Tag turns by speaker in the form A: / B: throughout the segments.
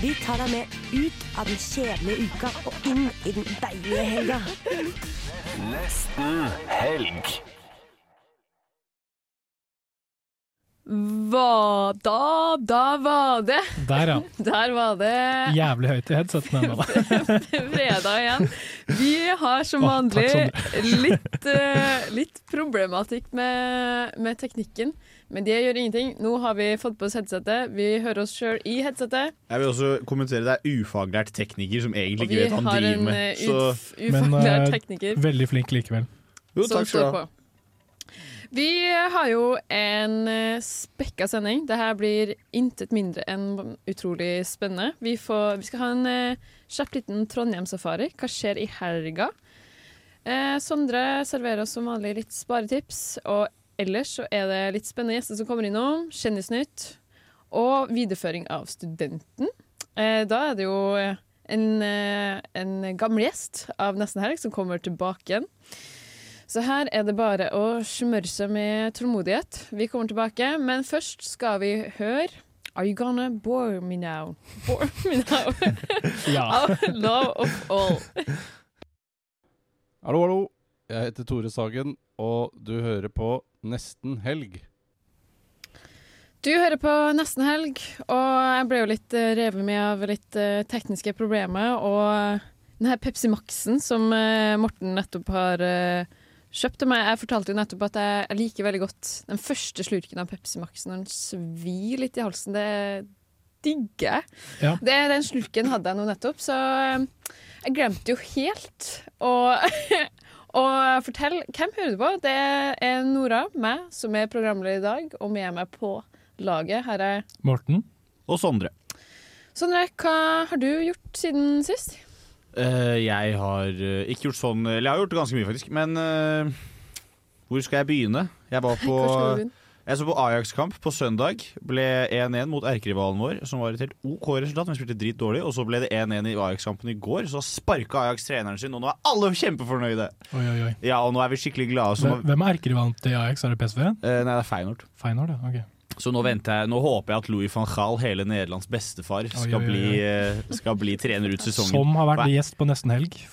A: Vi tar deg med ut av den kjedelige uka og inn i den deilige helga.
B: Hva da? Da var det.
C: Der, ja.
B: Der var det
C: Jævlig høyt i headseten ennå. da.
B: fredag igjen. Vi har som
C: Å,
B: vanlig
C: takk,
B: litt, eh, litt problematikk med, med teknikken, men det gjør ingenting. Nå har vi fått på oss headsetet. Vi hører oss sjøl i headsetet.
D: Jeg vil også kommentere det er ufaglært tekniker som egentlig
B: Og
D: ikke
B: vi
D: vet hva han
B: har
D: driver
B: en eh,
D: med. Så
B: uf
C: Men,
B: ufaglært
C: eh,
B: tekniker.
C: Veldig flink likevel.
D: jo,
B: som
D: takk
B: står
D: skal du ha.
B: på. Vi har jo en eh, spekka sending. Det her blir intet mindre enn utrolig spennende. Vi, får, vi skal ha en eh, kjapp liten Trondheim-safari. Hva skjer i helga? Eh, Sondre serverer oss som vanlig litt sparetips. Og ellers så er det litt spennende gjester som kommer innom. Kjendisnytt. Og videreføring av Studenten. Eh, da er det jo eh, en, eh, en gammel gjest av Nesten helg som kommer tilbake igjen. Så her er det bare å smøre seg med tålmodighet. Vi kommer tilbake, men først skal vi høre Are you gonna bore me now? Bore me now
C: Ja.
B: av Love of All.
E: Hallo, hallo. Jeg heter Tore Sagen, og du hører på Nesten Helg.
B: Du hører på Nesten Helg, og jeg ble jo litt eh, revet med av litt eh, tekniske problemer. Og denne Pepsi Max-en som eh, Morten nettopp har eh, kjøpt til meg Jeg fortalte jo nettopp at jeg, jeg liker veldig godt den første slurken av Pepsi Max når den svir litt i halsen. Det digger jeg.
C: Ja.
B: Det, den slurken hadde jeg nå nettopp, så eh, jeg glemte jo helt å Og fortell, hvem hører du på? Det er Nora, meg, som er programleder i dag, og med meg på laget. Her er
C: Morten?
D: Og Sondre.
B: Sondre, hva har du gjort siden sist?
D: Eh, jeg har eh, ikke gjort sånn Eller jeg har gjort ganske mye, faktisk. Men eh, hvor skal jeg begynne? Jeg var på,
B: Kanskje du begynner?
D: jeg så på Ajax-kamp på søndag. Ble 1-1 mot erkerivalen vår, som var et helt OK resultat. men Vi spilte dritdårlig, og så ble det 1-1 i Ajax-kampen i går. Så sparka Ajax treneren sin, og nå er alle kjempefornøyde!
C: Oi, oi, oi.
D: Ja, og nå er vi skikkelig glade. Så nå,
C: Hvem hvem er erkerivalen til Ajax? Er det PSV?
D: Eh, nei, det er Feyenoord.
C: Feinor, ja. Ok.
D: Så nå, venter jeg, nå håper jeg at Louis van Gaal, hele Nederlands bestefar, skal,
C: oi, oi.
D: Bli, eh, skal bli trener ut sesongen.
C: Som har vært
D: Hva-
C: gjest på Nesten Helg.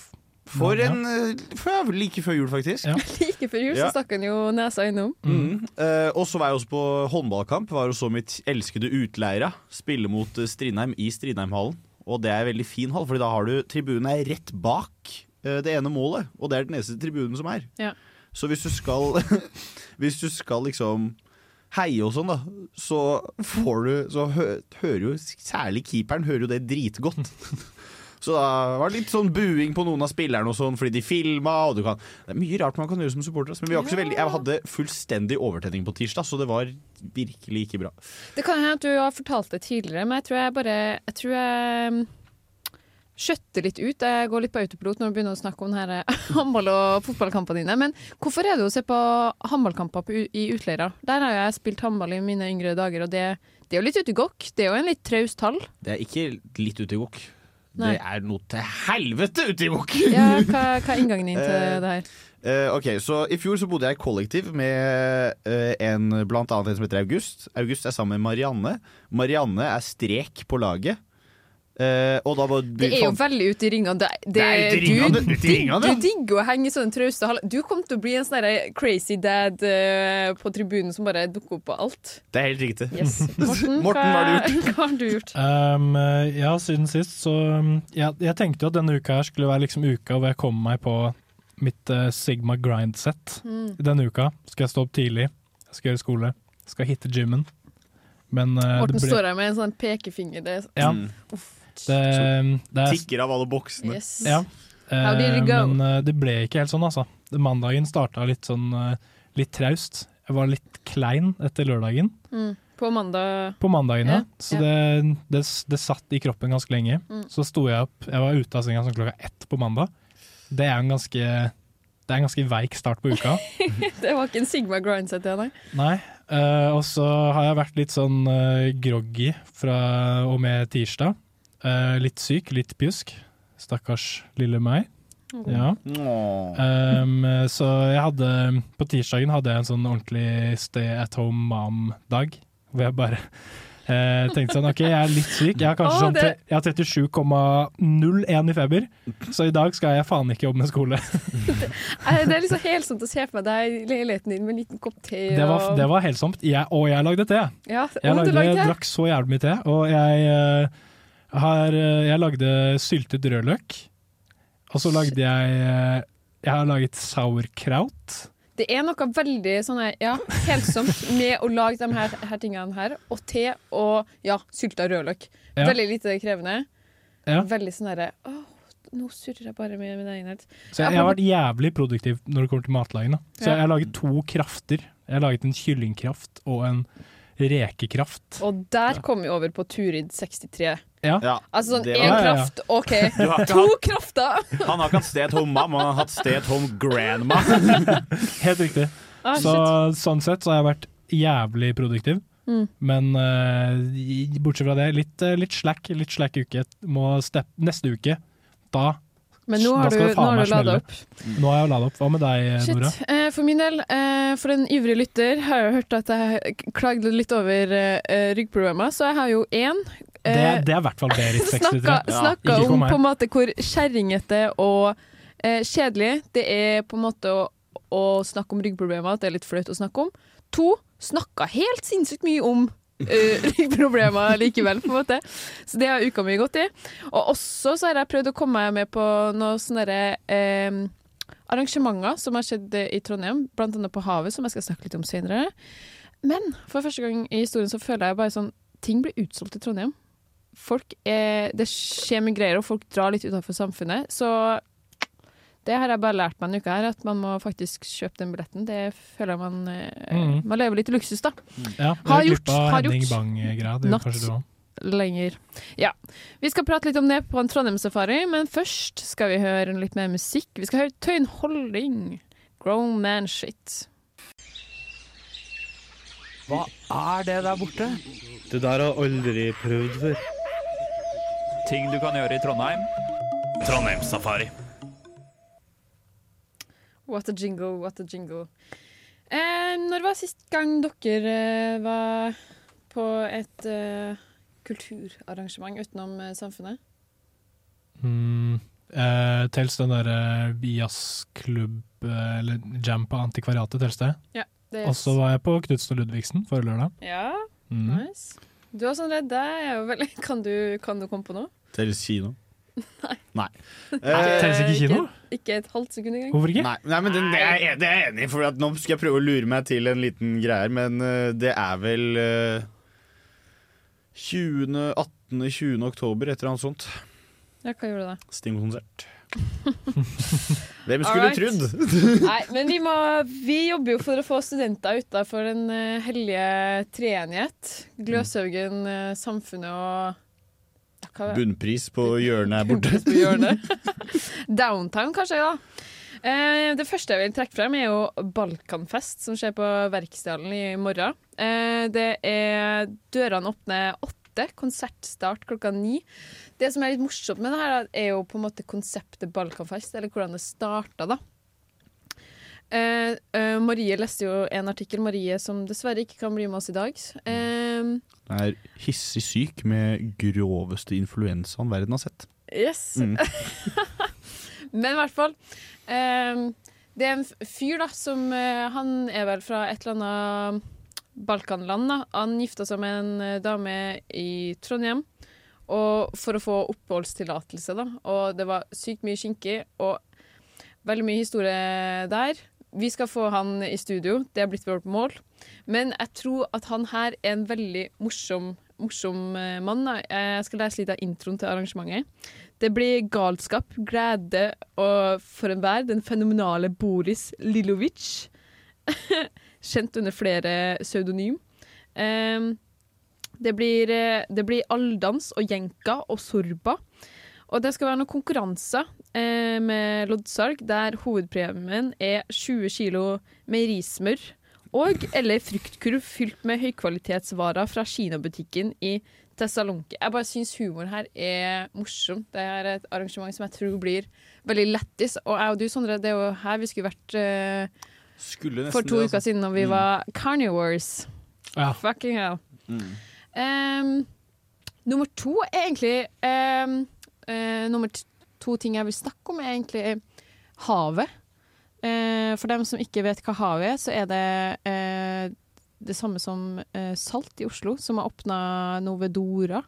D: For
C: Ja.
D: en eh, for ja, Like før jul, faktisk.
C: Ja.
B: Like før jul
D: Ja.
B: så stakk han jo nesa innom.
D: Mm. Eh, og så var jeg også på håndballkamp. Var og så mitt elskede utleira spille mot eh, Strindheim i Strindheimhallen. Og det er en veldig fin hall, Fordi da har du tribunen er rett bak eh, det ene målet. Og det er den eneste tribunen som er.
B: Ja.
D: Så hvis du skal Hvis du skal liksom heie og sånn, da, så får du Så hø, hører jo særlig keeperen hører jo det dritgodt. Så da var det litt sånn buing på noen av spillerne og sånn fordi de filma. Og du kan, det er mye rart man kan gjøre som supporter. ass, Men vi var ikke så veldig, jeg hadde fullstendig overtenning på tirsdag, så det var virkelig ikke bra.
B: Det kan hende at du har fortalt det tidligere, men jeg tror jeg bare Jeg tror jeg mm, skjøtter litt ut. Jeg går litt på autopilot når du begynner å snakke om denne håndball- og fotballkampene dine. Men hvorfor er det å se på håndballkamper på u- i utleirer? Der har jeg spilt håndball i mine yngre dager, og det, det er jo litt ute i gokk. Det er jo en litt traust hall.
D: Det er ikke litt ute i gokk.
B: Nei.
D: Det er noe til helvete ute i gokk!
B: Ja, hva, hva er inngangen din
D: Eh,
B: til det her?
D: Eh, ok, så I fjor så bodde jeg i kollektiv med eh, en blant annet en som heter August. August er sammen med Marianne. Marianne er strek på laget. Eh, og da bare
B: Det er jo veldig ute i ringene. Det, det,
D: Det er ute i ringene,
B: du,
D: ute i ringene,
B: digg-
D: ja.
B: du digger å henge i sånne trauste hall. Du kom til å bli en sånn der crazy dad eh, på tribunen som bare dukker opp på alt.
D: Det er helt riktig.
B: Yes. Morten,
D: Morten, hva har du
B: hva har du gjort?
C: Um, ja, siden sist, så um, ja, Jeg tenkte jo at denne uka her skulle være liksom uka hvor jeg kom meg på mitt eh, Sigma grind-sett.
B: Hmm.
C: Denne uka skal jeg stå opp tidlig, jeg skal gjøre skole, jeg skal hitte gymmen. Men eh,
B: Morten
C: det ble
B: står her med en sånn pekefinger. Det er sånn,
C: ja,
D: Mm.
C: det, det er
D: Tikker av alle boksene.
B: yes.
C: Ja.
B: How did it go?
C: Men eh, det ble ikke helt sånn, altså. Mandagen starta litt sånn eh, litt traust. Jeg var litt klein etter lørdagen.
B: Hmm. På mandag
C: På mandagene.
B: Ja,
C: Så
B: ja.
C: det, det, det satt i kroppen ganske lenge.
B: Mm.
C: Så sto jeg opp Jeg var ute av senga sånn klokka ett på mandag. Det er en ganske Det er en ganske veik start på uka.
B: Det var ikke en Sigma Grindset, det, nei.
C: Nei. eh, og så har jeg vært litt sånn eh, groggy fra og med tirsdag. Eh, litt syk, litt pjusk. Stakkars lille meg.
B: Hmm.
C: Ja. Um, så jeg hadde På tirsdagen hadde jeg en sånn ordentlig stay at home mom-dag. Hvor jeg bare eh, tenkte sånn OK, jeg er litt syk. Jeg har kanskje
B: Å,
C: sånn
B: det-
C: tre- Jeg har 37,01 i feber, så i dag skal jeg faen ikke jobbe med skole.
B: Eh, Det er liksom helsomt å se for meg deg i leiligheten din med en liten kopp te.
C: Det var,
B: og-
C: det var helsomt. Jeg, og jeg lagde te!
B: Ja,
C: Jeg
B: om du
C: lagde,
B: lagde det?
C: drakk så jævlig mye te, og jeg, eh, har, eh, jeg lagde syltet rødløk. Og så lagde jeg eh, Jeg har laget sauerkraut.
B: Det er noe veldig sånn her, ja, helsomt med å lage de her, her tingene her. Og te og ja, sylta rødløk.
C: Ja.
B: Veldig lite krevende.
C: Ja.
B: Veldig sånn herre Åh, nå surrer jeg bare med min egen helt.
C: Så jeg, jeg har vært jævlig produktiv når det kommer til matlaging. Da. Så
B: Ja.
C: jeg har laget to krafter. Jeg har laget en kyllingkraft og en rekekraft.
B: Og der kom vi over på Turid 63.
D: Ja,
B: Altså sånn
D: det
B: én
D: var-
C: Ja, ja, ja.
B: kraft, OK.
D: Du har ikke
B: To
D: hatt,
B: krafter!
D: han har ikke hatt stay at home mom, han har hatt stay at home grandma.
C: Helt riktig.
B: Ah,
C: Så
B: shit.
C: sånn sett så har jeg vært jævlig produktiv.
B: Mm.
C: Men eh, i- bortsett fra det, litt, eh, litt slack Litt slack uke. Må stepp, neste uke, da
B: Men nå har
C: da
B: du,
C: skal det
B: nå
C: faen
B: har
C: meg
B: du lada
C: smelle.
B: opp.
C: Nå har jeg lada opp. Hva med deg,
B: Shit.
C: Nora?
B: Eh, for min del, eh, for en ivrig lytter, har jeg hørt at jeg k- klagde litt over eh, ryggproblemer, så jeg har jo én.
C: Det,
B: eh,
C: det er i hvert fall Berit 63.
B: Snakka,
D: Ja,
B: snakka
C: ikke kom
B: om
C: her.
B: på en måte hvor kjerringete og eh, kjedelig det er på en måte å, å snakke om ryggproblemer, at det er litt flaut å snakke om. To, snakka helt sinnssykt mye om eh, ryggproblemer likevel, på en måte. Så det har uka mi gått i. Og også så har jeg prøvd å komme meg med på noen sånne derre, eh, arrangementer som har skjedd eh, i Trondheim, blant annet på Havet, som jeg skal snakke litt om senere. Men for første gang i historien så føler jeg bare sånn Ting blir utsolgt i Trondheim folk er, det skjer mye greier, og folk drar litt utenfor samfunnet. Så det har jeg bare lært meg denne uka, her, at man må faktisk kjøpe den billetten. Det føler jeg man eh,
C: Mhm.
B: Man lever litt i luksus, da.
C: Ja,
B: Har
C: dere
B: gjort,
C: klippa
B: har
C: Henning
B: gjort.
C: Bang-greia. Det
B: Natt.
C: gjorde kanskje du også.
B: Lenger. Ja. Vi skal prate litt om det på en Trondheim-safari, men først skal vi høre litt mer musikk. Vi skal høre Tøyen Holding, 'Grown Man Shit'.
F: Hva er det der borte?
E: Det der har aldri prøvd før.
F: Ting du kan gjøre i Trondheim. Trondheimssafari.
B: What a jingle, what a jingle. Eh, når var sist gang dere eh, var på et eh, kulturarrangement utenom eh, samfunnet?
C: Mm, eh, tels den der eh, jazzklubb eh, eller jam på Antikvariatet, tels det.
B: Det er-
C: Og så var jeg på Knutsen og Ludvigsen forrige lørdag.
B: Ja,
C: Mm.
B: nice. Du er sånn redd deg. er jo veldig- Kan du, kan du komme på noe?
D: Til kino. Nei.
B: Eh,
D: Eh,
C: Telles ikke kino?
B: Ikke et halvt sekund engang.
C: Hvorfor ikke?
D: Nei, nei, men det, det, er, jeg- det er jeg enig i, for at nå skal jeg prøve å lure meg til en liten greie her, men eh, det er vel eh, 20. 18. 20. oktober, et eller annet sånt.
B: Ja, hva gjorde du da?
D: Sting-konsert. Hvem skulle
B: Alright.
D: trodd?
B: Nei, men vi, må, vi jobber jo for å få studenter utafor den eh, hellige treenighet. Gløshaugen, eh, samfunnet og ja, hva-
D: Bunnpris på hjørnet er borte.
B: på hjørnet. Downtown, kanskje, da. Eh, det første jeg vil trekke frem, er jo Balkanfest, som skjer på Verksdalen i morgen. Eh, det er Dørene åpner åtte, konsertstart klokka ni. Det som er litt morsomt med det her, da, er jo på en måte konseptet Balkanfest, eller hvordan det starta, da. Eh, eh, Marie leste jo en artikkel, Marie som dessverre ikke kan bli med oss i dag. Eh,
D: Jeg er hissig syk med groveste influensaen verden har sett.
B: Yes.
D: Mm.
B: Men i hvert fall. ehm, det er en f- fyr da som eh, Han er vel fra et eller annet Balkanland. da Han gifta seg med en eh, dame i Trondheim og for å få oppholdstillatelse. da Og det var sykt mye skinke og veldig mye historie der. Vi skal få han i studio, det er blitt vårt mål. Men jeg tror at han her er en veldig morsom, morsom eh, mann. da Jeg skal lese litt av introen til arrangementet. Det blir galskap, glede og for enhver den fenomenale Boris Lilovic. Kjent under flere pseudonym. Ehm, Det blir, eh, det blir alldans og jenka og sorba. Og det skal være noen konkurranser eh, med loddsalg der hovedpremien er 20 kilo meierismør og eller fruktkurv fylt med høykvalitetsvarer fra kinobutikken i Tessaloniki. Jeg bare syns humoren her er morsom. Det er et arrangement som jeg tror blir veldig lættis. Og jeg og du, Sondre, det er jo her vi skulle vært eh,
D: Skulle nesten
B: for to
D: det,
B: uker
D: altså.
B: siden når vi
D: Mm.
B: var Carnivores.
C: Ja.
B: Fucking hell.
D: Mm.
B: Ehm, nummer to er egentlig ehm, eh, Nummer t- to ting jeg vil snakke om, er egentlig havet. Eh, for dem som ikke vet hva havet er, så er det eh, det samme som eh, Salt i Oslo, som har åpna noe ved Dora.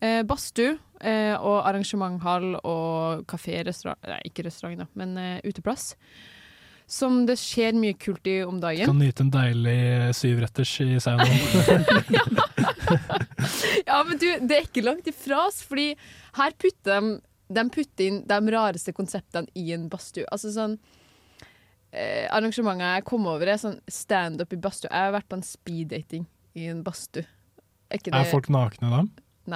B: Eh, Badstue eh, og arrangementhall og kafé, restaurant Nei, ikke restaurant, da, men eh, uteplass. Som det skjer mye kult i om dagen.
C: Kan nyte en deilig eh, syvretters i saunaen.
B: Ja, men du, det er ikke langt ifra oss, fordi her putter de, de putter inn de rareste konseptene i en badstue. Altså sånn eh, Arrangementer jeg kom over, er sånn standup i badstue. Jeg har vært på en speeddating i en badstue. Er ikke det
C: er folk nakne da?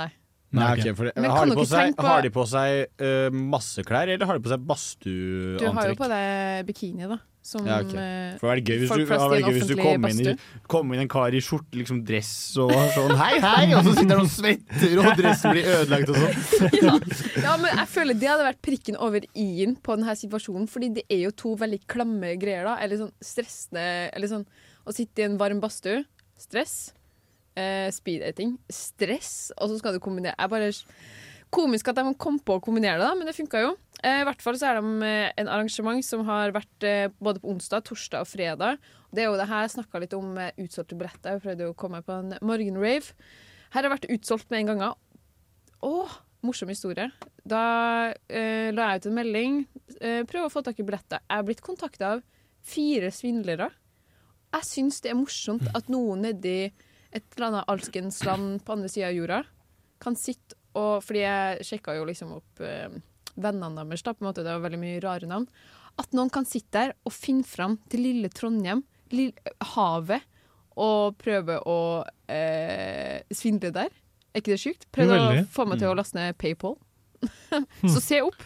B: Nei.
D: Nei,
C: ok.
D: ok, for det,
B: Men
D: har,
B: kan
D: de på
B: dere
D: seg,
B: tenke på-
D: har de på seg eh, masse klær, eller har de på seg
B: Du har jo
D: badstueantrekk?
B: på deg bikini, da. Som
D: Ja, ok.
B: eh,
D: For det hadde vært gøy hvis
B: folk
D: du, det
B: flest
D: hadde
B: i
D: vært
B: en
D: gøy hvis du
B: offentlig
D: kom, inn i, kom inn en kar i skjort, liksom dress og sånn Hei, hei! Og så sitter han og svetter, og dressen blir ødelagt og sånn.
B: ja. ja, men jeg føler det hadde vært prikken over i-en på denne situasjonen. Fordi det er jo to veldig klamme greier, da. Eller sånn stressende Eller sånn å sitte i en varm badstue. Stress. Eh, Speeddating. Stress. Og så skal du kombinere Jeg bare Komisk at de kom på å kombinere det, da, men det funka jo. Eh, I hvert fall så er de eh, en arrangement som har vært eh, både på onsdag, torsdag og fredag. Det er jo det her jeg snakka litt om eh, utsolgte billetter. Jeg prøvde jo å komme meg på en morgenrave. Her har jeg vært utsolgt med en gang. Å, morsom historie. Da eh, la jeg ut en melding. Eh, prøv å få tak i billetter. Jeg er blitt kontakta av fire svindlere. Jeg syns det er morsomt at noen nedi et eller annet alskensland på andre sida av jorda kan sitte og Fordi jeg sjekka jo liksom opp eh, vennene deres, da, på en måte, det var veldig mye rare navn. At noen kan sitte der og finne fram til lille Trondheim, lille, eh, havet, og prøve å eh, svindle der. Er ikke det sjukt? Prøvde å
C: Veldig.
B: få meg til å laste ned PayPal. Så se opp.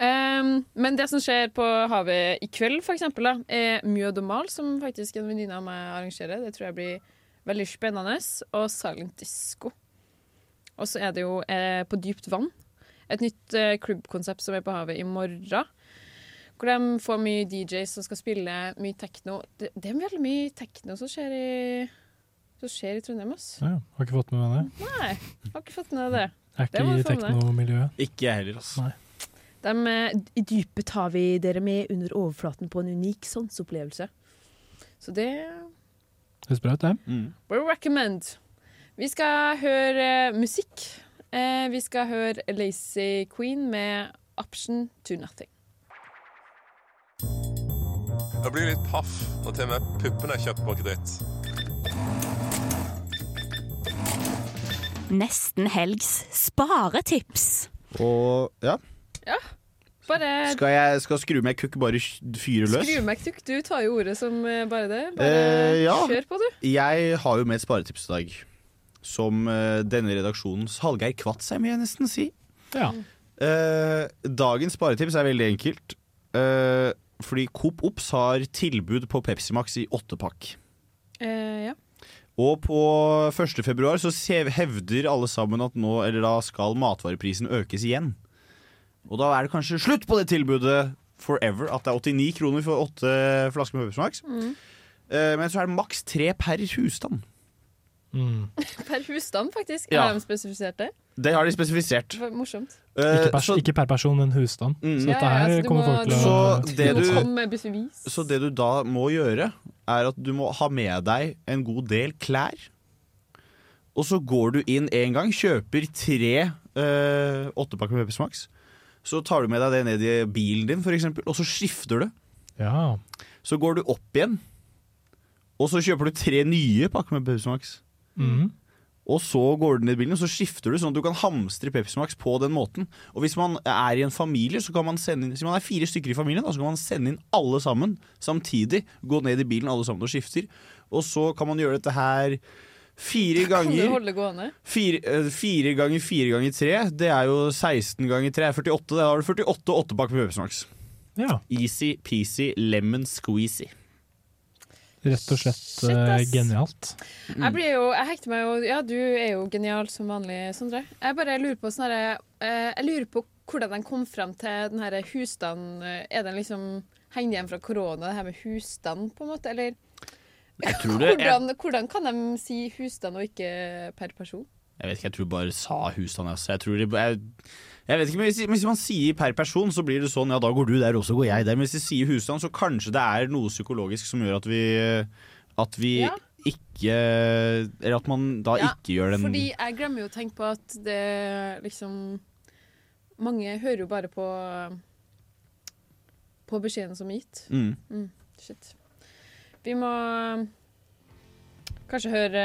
B: Ehm, men det som skjer på havet i kveld, for eksempel, da, er Mjød og Mal, som faktisk en venninne av meg arrangerer. Det tror jeg blir veldig spennende. Og Silent Disco. Og så er det jo eh, På dypt vann. Et nytt eh, klubbkonsept som er på havet i morgen. Hvor de får mye DJs som skal spille mye tekno. Det, det er veldig mye tekno som skjer i, som skjer i Trondheim, ass.
C: Ja, har ikke fått med meg det.
B: Nei, har ikke fått med det. Det
C: Er ikke
B: må
C: i
B: jeg få med meg.
C: teknomiljøet.
D: Ikke jeg heller, altså.
C: Nei.
B: Dem, eh, I dypet tar vi dere med under overflaten på en unik sanseopplevelse. Så det
C: Høres bra ut, det.
D: Mm.
B: will recommend. Vi skal høre eh, musikk. Eh, vi skal høre Lazy Queen med 'Option to Nothing'.
G: Jeg blir litt paff når til og med puppene er kjøpt på kreditt.
H: Nesten helgs sparetips.
D: Og ja.
B: Bare
D: Skal jeg skal skru meg kukk bare sk- fyre løs?
B: skru meg tuk, du tar jo ordet som eh, bare det. Bare
D: Eh, ja.
B: kjør på, du.
D: Jeg har jo med et sparetips i dag. Som eh, denne redaksjonens Hallgeir Kvatsheim, vil jeg nesten si.
C: Ja.
D: Eh, dagens sparetips er veldig enkelt. Eh, fordi Coop Ops har tilbud på Pepsi Max i åttepakk.
B: Eh, ja.
D: Og på 1. februar så se- hevder alle sammen at nå, eller da skal matvareprisen økes igjen. Og da er det kanskje slutt på det tilbudet forever, at det er 89 kroner for åtte flasker med Pepsi Max. Eh, Men så er det maks tre per husstand.
B: Mm.
C: Mm.
B: Per husstand, faktisk.
D: Ja.
B: Har de spesifisert det?
D: Det har de spesifisert.
B: Det var Morsomt.
D: Eh,
C: Ikke per,
D: så, Mm,
C: ikke per person, men husstand. Så dette
B: Ja, ja,
C: her
B: så du
C: kommer
B: må-
C: folk til å
D: så, det
B: Du
D: du,
B: må komme med bevis.
D: så det du da må gjøre, er at du må ha med deg en god del klær. Og så går du inn en gang, kjøper tre eh, åttepakker med Pepsi Max. Så tar du med deg det ned i bilen din, for eksempel, og så skifter du.
C: Ja.
D: Så går du opp igjen, og så kjøper du tre nye pakker med Pepsi Max.
C: Mhm.
D: Og så går du ned i bilen, og så skifter du sånn at du kan hamstre Pepsi Max på den måten. Og hvis man er i en familie, så kan man sende inn Hvis man er fire stykker i familien, da, så kan man sende inn alle sammen samtidig. Gå ned i bilen alle sammen og skifter. Og så kan man gjøre dette her Fire
B: Kan du
D: ganger
B: holde det gående?
D: Fire, eh, fire ganger fire ganger tre, det er jo 16 ganger tre. 48, det. Da har du 48 åttepakk med Pepsi Max.
C: Ja.
D: Easy-peasy lemon squeezy.
C: Rett og slett eh,
B: ass.
C: genialt.
D: Mm.
B: Jeg blir jo, jeg hekter meg jo Ja, du er jo genial som vanlig, Sondre. Jeg bare lurer på sånn herre eh, Jeg lurer på hvordan de kom frem til den herre husstand... eh, Er den liksom Henger det igjen fra korona, det her med husstand, på en måte? Eller
D: Jeg tror det jeg,
B: hvordan, hvordan kan de si husstand og ikke per person?
D: jeg vet ikke, jeg tror bare sa husstand. Altså. Jeg, tror de, jeg, jeg vet ikke, men hvis, hvis man sier per person, så blir det sånn ja, da går du der, og så går jeg der. Men hvis de sier husstand, så kanskje det er noe psykologisk som gjør at vi, at vi
B: Ja.
D: ikke Eller at man da
B: Ja,
D: ikke gjør den
B: Fordi jeg glemmer jo å tenke på at det liksom Mange hører jo bare på På beskjeden som er gitt.
D: Mm.
B: shit. Vi må kanskje høre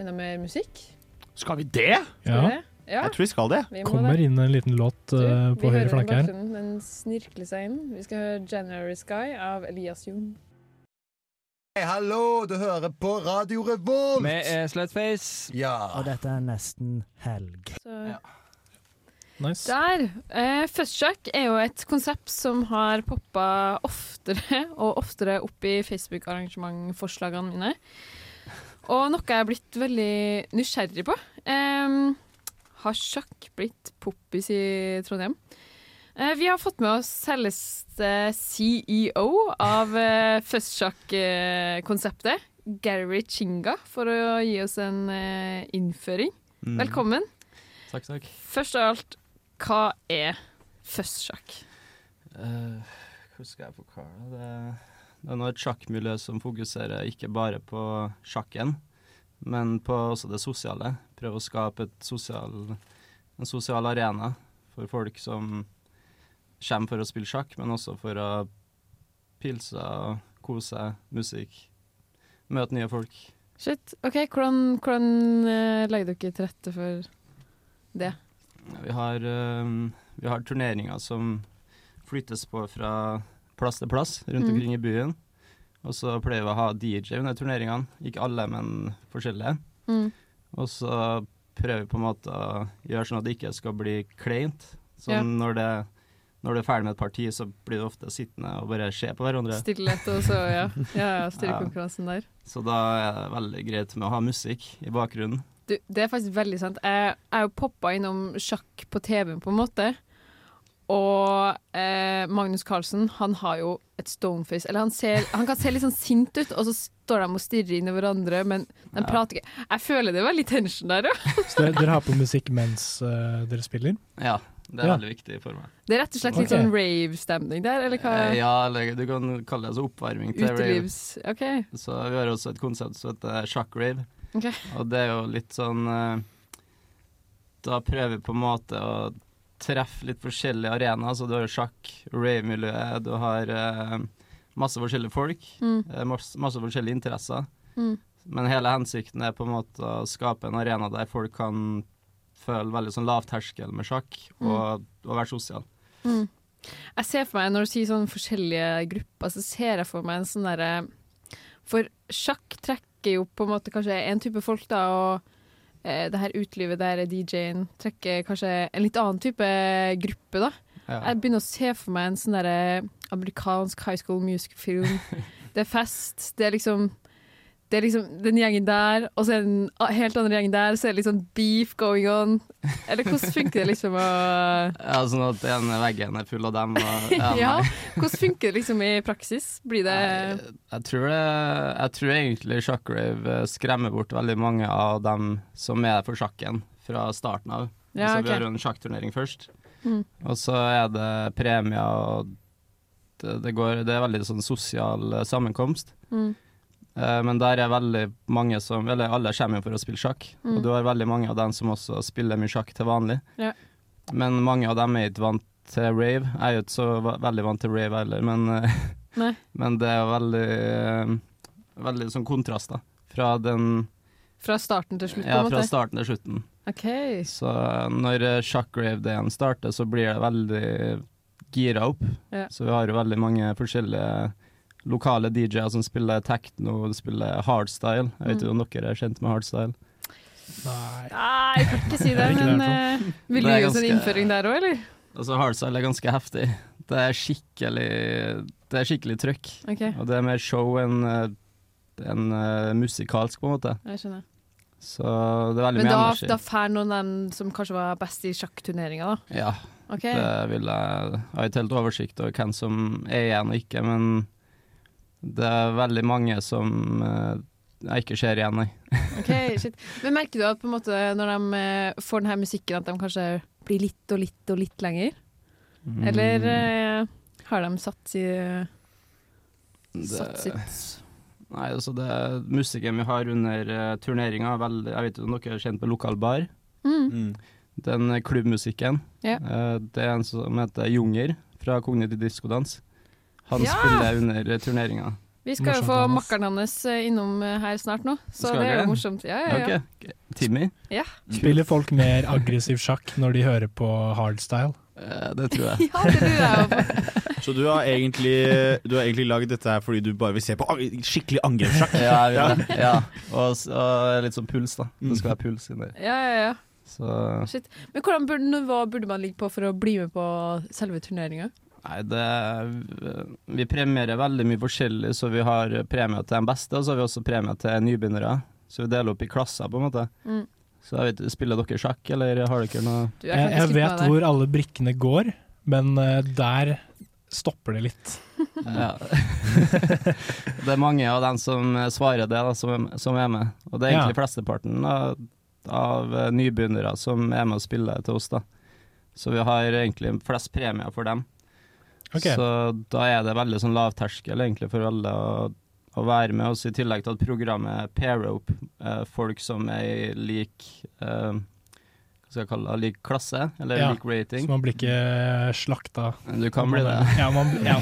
B: enda mer musikk.
D: Skal vi det?
B: Skal vi det? Ja.
D: Jeg tror vi skal det.
B: Vi må
C: Kommer inn en liten låt eh,
B: vi
C: på høyre
B: hører den i
C: flanke her.
B: bakgrunnen, Den snirkler seg inn. Vi skal høre 'January Sky' av Elias Jung.
I: Hei, hallo, du hører på Radio Revolt!
J: Med eh, Slutface.
I: Ja.
J: Og dette er nesten helg.
B: Så Der. Eh, First Check er jo et konsept som har poppa oftere og oftere opp i Facebook-arrangementforslagene mine. Og noe jeg er blitt veldig nysgjerrig på. Eh, har sjakk blitt poppis i Trondheim? Eh, vi har fått med oss eh, selveste CEO E av eh, First Check-konseptet, Gary Chinga, for å gi oss en eh, innføring.
J: Mm.
B: Velkommen.
J: Takk, takk.
B: Først av alt, hva er føsssjakk?
J: Eh, hvor skal jeg forklare det? Det er nå et sjakkmiljø som fokuserer ikke bare på sjakken, men på også det sosiale. Prøve å skape et sosial, en sosial arena for folk som kommer for å spille sjakk, men også for å pilse og kose seg, musikk, møte nye folk.
B: Shit, ok, Hvordan, hvordan eh, legger dere til rette for det?
J: Vi har, eh, vi har turneringer som flyttes på fra plass til plass rundt
B: Mm.
J: omkring i byen. Og så pleier vi å ha DJ under turneringene. Ikke alle, men forskjellige.
B: Mm.
J: Og så prøver vi på en måte å gjøre sånn at det ikke skal bli kleint. Sånn
B: Ja.
J: når, det, når du er ferdig med et parti, så blir du ofte sittende og bare se på hverandre.
B: Stillhet og så, ja. ja, ja
J: Ja.
B: Stillekonkurransen der.
J: Så da er det veldig greit med å ha musikk i bakgrunnen.
B: Du, det er faktisk veldig sant. Jeg jeg er jo poppa innom sjakk på TV-en, på en måte. Og eh, Magnus Carlsen, han har jo et stoneface. Eller han, ser, han kan se litt sånn sint ut, og så står de og stirrer inn i hverandre, men de prater ikke. Jeg føler det er veldig tension der, ja.
C: Så dere, dere har på musikk mens eh, dere spiller?
J: Ja, det er
C: Ja.
J: veldig viktig for meg.
B: Det er rett og slett litt
J: Ok.
B: sånn rave-stemning der, eller hva?
J: Eh, Ja, eller du kan kalle det så oppvarming til rave.
B: Utelivs OK.
J: Så vi har også et konsept som heter sjakkrave.
B: Ok.
J: Og det er jo litt sånn eh, Da prøver vi på en måte å treffe litt forskjellige arenaer. Så du har jo sjakk, rave-miljøet, du har eh, masse forskjellige folk.
B: Mm.
J: eh, Masse, masse forskjellige interesser.
B: Mm.
J: Men hele hensikten er på en måte å skape en arena der folk kan føle veldig sånn lavterskel med sjakk, og, og være sosial.
B: Mm. Jeg ser for meg, når du sier sånn forskjellige grupper, så ser jeg for meg en sånn derre For sjakk trekker jo på en måte kanskje en type folk, da, og eh, det her utelivet der er DJ-en, trekker kanskje en litt annen type gruppe, da.
J: Ja.
B: Jeg begynner å se for meg en sånn derre amerikansk high school music-film. det er fest, det er liksom det er liksom den gjengen der, og så er det en a- helt annen gjeng der, så er det liksom beef going on. Eller hvordan funker det liksom å
J: Ja, sånn at den veggen er full av dem. Og,
B: ja,
J: nei.
B: hvordan funker det liksom i praksis? Blir det
J: Jeg tror, det, jeg tror egentlig Shockwave eh, skremmer bort veldig mange av dem som er for sjakken fra starten av.
B: Ja,
J: altså,
B: ok.
J: Vi har jo en sjakkturnering først,
B: Mm.
J: og så er det premier og det, det, går, det er veldig sånn sosial eh, sammenkomst.
B: Mm.
J: Eh, Men der er veldig mange som Eller alle kommer jo for å spille sjakk,
B: Mm.
J: og du har veldig mange av dem som også spiller mye sjakk til vanlig.
B: ja.
J: Men mange av dem er ikke vant til rave. Jeg er jo ikke så va- veldig vant til rave heller, men, eh,
B: Nei.
J: men det er veldig, eh, veldig sånn kontrast, da. Fra, den,
B: Fra starten til slutt, på
J: ja,
B: en
J: fra
B: måte?
J: starten til slutten.
B: OK.
J: Så når eh, shockwave-dagen starter, så blir det veldig gira opp.
B: Ja.
J: Så vi har jo veldig mange forskjellige lokale DJ-er som spiller techno, spiller hardstyle. Jeg vet
B: Mm.
J: ikke om dere er kjent med hardstyle?
B: Nei, jeg kan ikke si det,
J: Ikke
B: men
J: derfor.
B: eh, vil du
J: Det er
B: gi oss en
J: ganske-
B: innføring der òg, eller?
J: Altså Hardstyle er ganske heftig. Det er skikkelig Det er skikkelig trøkk.
B: Ok.
J: Og det er mer show enn eh, enn, eh, musikalsk, på en måte.
B: Jeg skjønner.
J: Så det er veldig
B: Men
J: mye
B: da,
J: energi.
B: da fær noen av dem som kanskje var best i sjakkturneringa, da.
J: Ja.
B: Ok.
J: Det vil jeg Jeg har ikke helt oversikt over hvem som er igjen og ikke, men det er veldig mange som eh, jeg ikke ser igjen, nei.
B: Ok, shit. Men merker du at på en måte når de eh, får denne musikken, at de kanskje blir litt og litt og litt lenger?
J: Mm.
B: Eller eh, har de satt i Satt
J: Det-
B: sitt
J: Nei, altså det musikken vi har under uh, turneringa, er veldig- jeg vet ikke om dere er kjent med lokal bar.
B: Mm.
J: Den eh, klubbmusikken.
B: Ja.
J: eh, det er en som heter Junger fra Kognitiv Diskodans. Han
B: Ja!
J: spiller under eh, turneringa.
B: Vi skal jo få makkeren hans eh, innom eh, her snart nå, så
J: Skal
B: det er
J: dere?
B: jo morsomt. Ja, ja, ja.
J: Ok. Timmy?
B: ja.
C: Spiller folk mer aggressiv sjakk når de hører på hardstyle?
J: Eh, det tror
B: jeg. ja, det lurer jeg på.
D: Så du har egentlig, du har egentlig lagd dette her fordi du bare vil se på ang- skikkelig angrepssjakk?
J: Ja, jeg vil det. ja. Og, s- og litt sånn puls, da. Det skal være puls inni der.
B: Ja, ja, ja.
J: Så
B: Shit. Men hvordan burde, nivå burde man ligge på for å bli med på selve turneringa?
J: Nei, det eh, Vi premierer veldig mye forskjellig, så vi har premie til de beste, og så har vi også premie til nybegynnere. Så vi deler opp i klasser, på en måte.
B: Mm.
J: Så jeg vet, Spiller dere sjakk, eller har dere noe
C: Jeg, jeg vet hvor alle brikkene går, men eh, der stopper det litt.
J: Ja. det er mange av dem som eh, svarer det, da, som, som er med. Og det er egentlig flesteparten av, av eh, nybegynnere som er med og spiller til oss. da. Så vi har egentlig flest premier for dem.
C: Ok.
J: Så da er det veldig sånn lavterskel egentlig for alle å, å være med oss, i tillegg til at programmet pairer opp eh, folk som er i lik eh, hva skal jeg kalle det, lik klasse, eller
C: Ja,
J: lik rating.
C: Så man blir ikke eh, slakta.
J: Du kan bli det.
C: Ja, man, ja.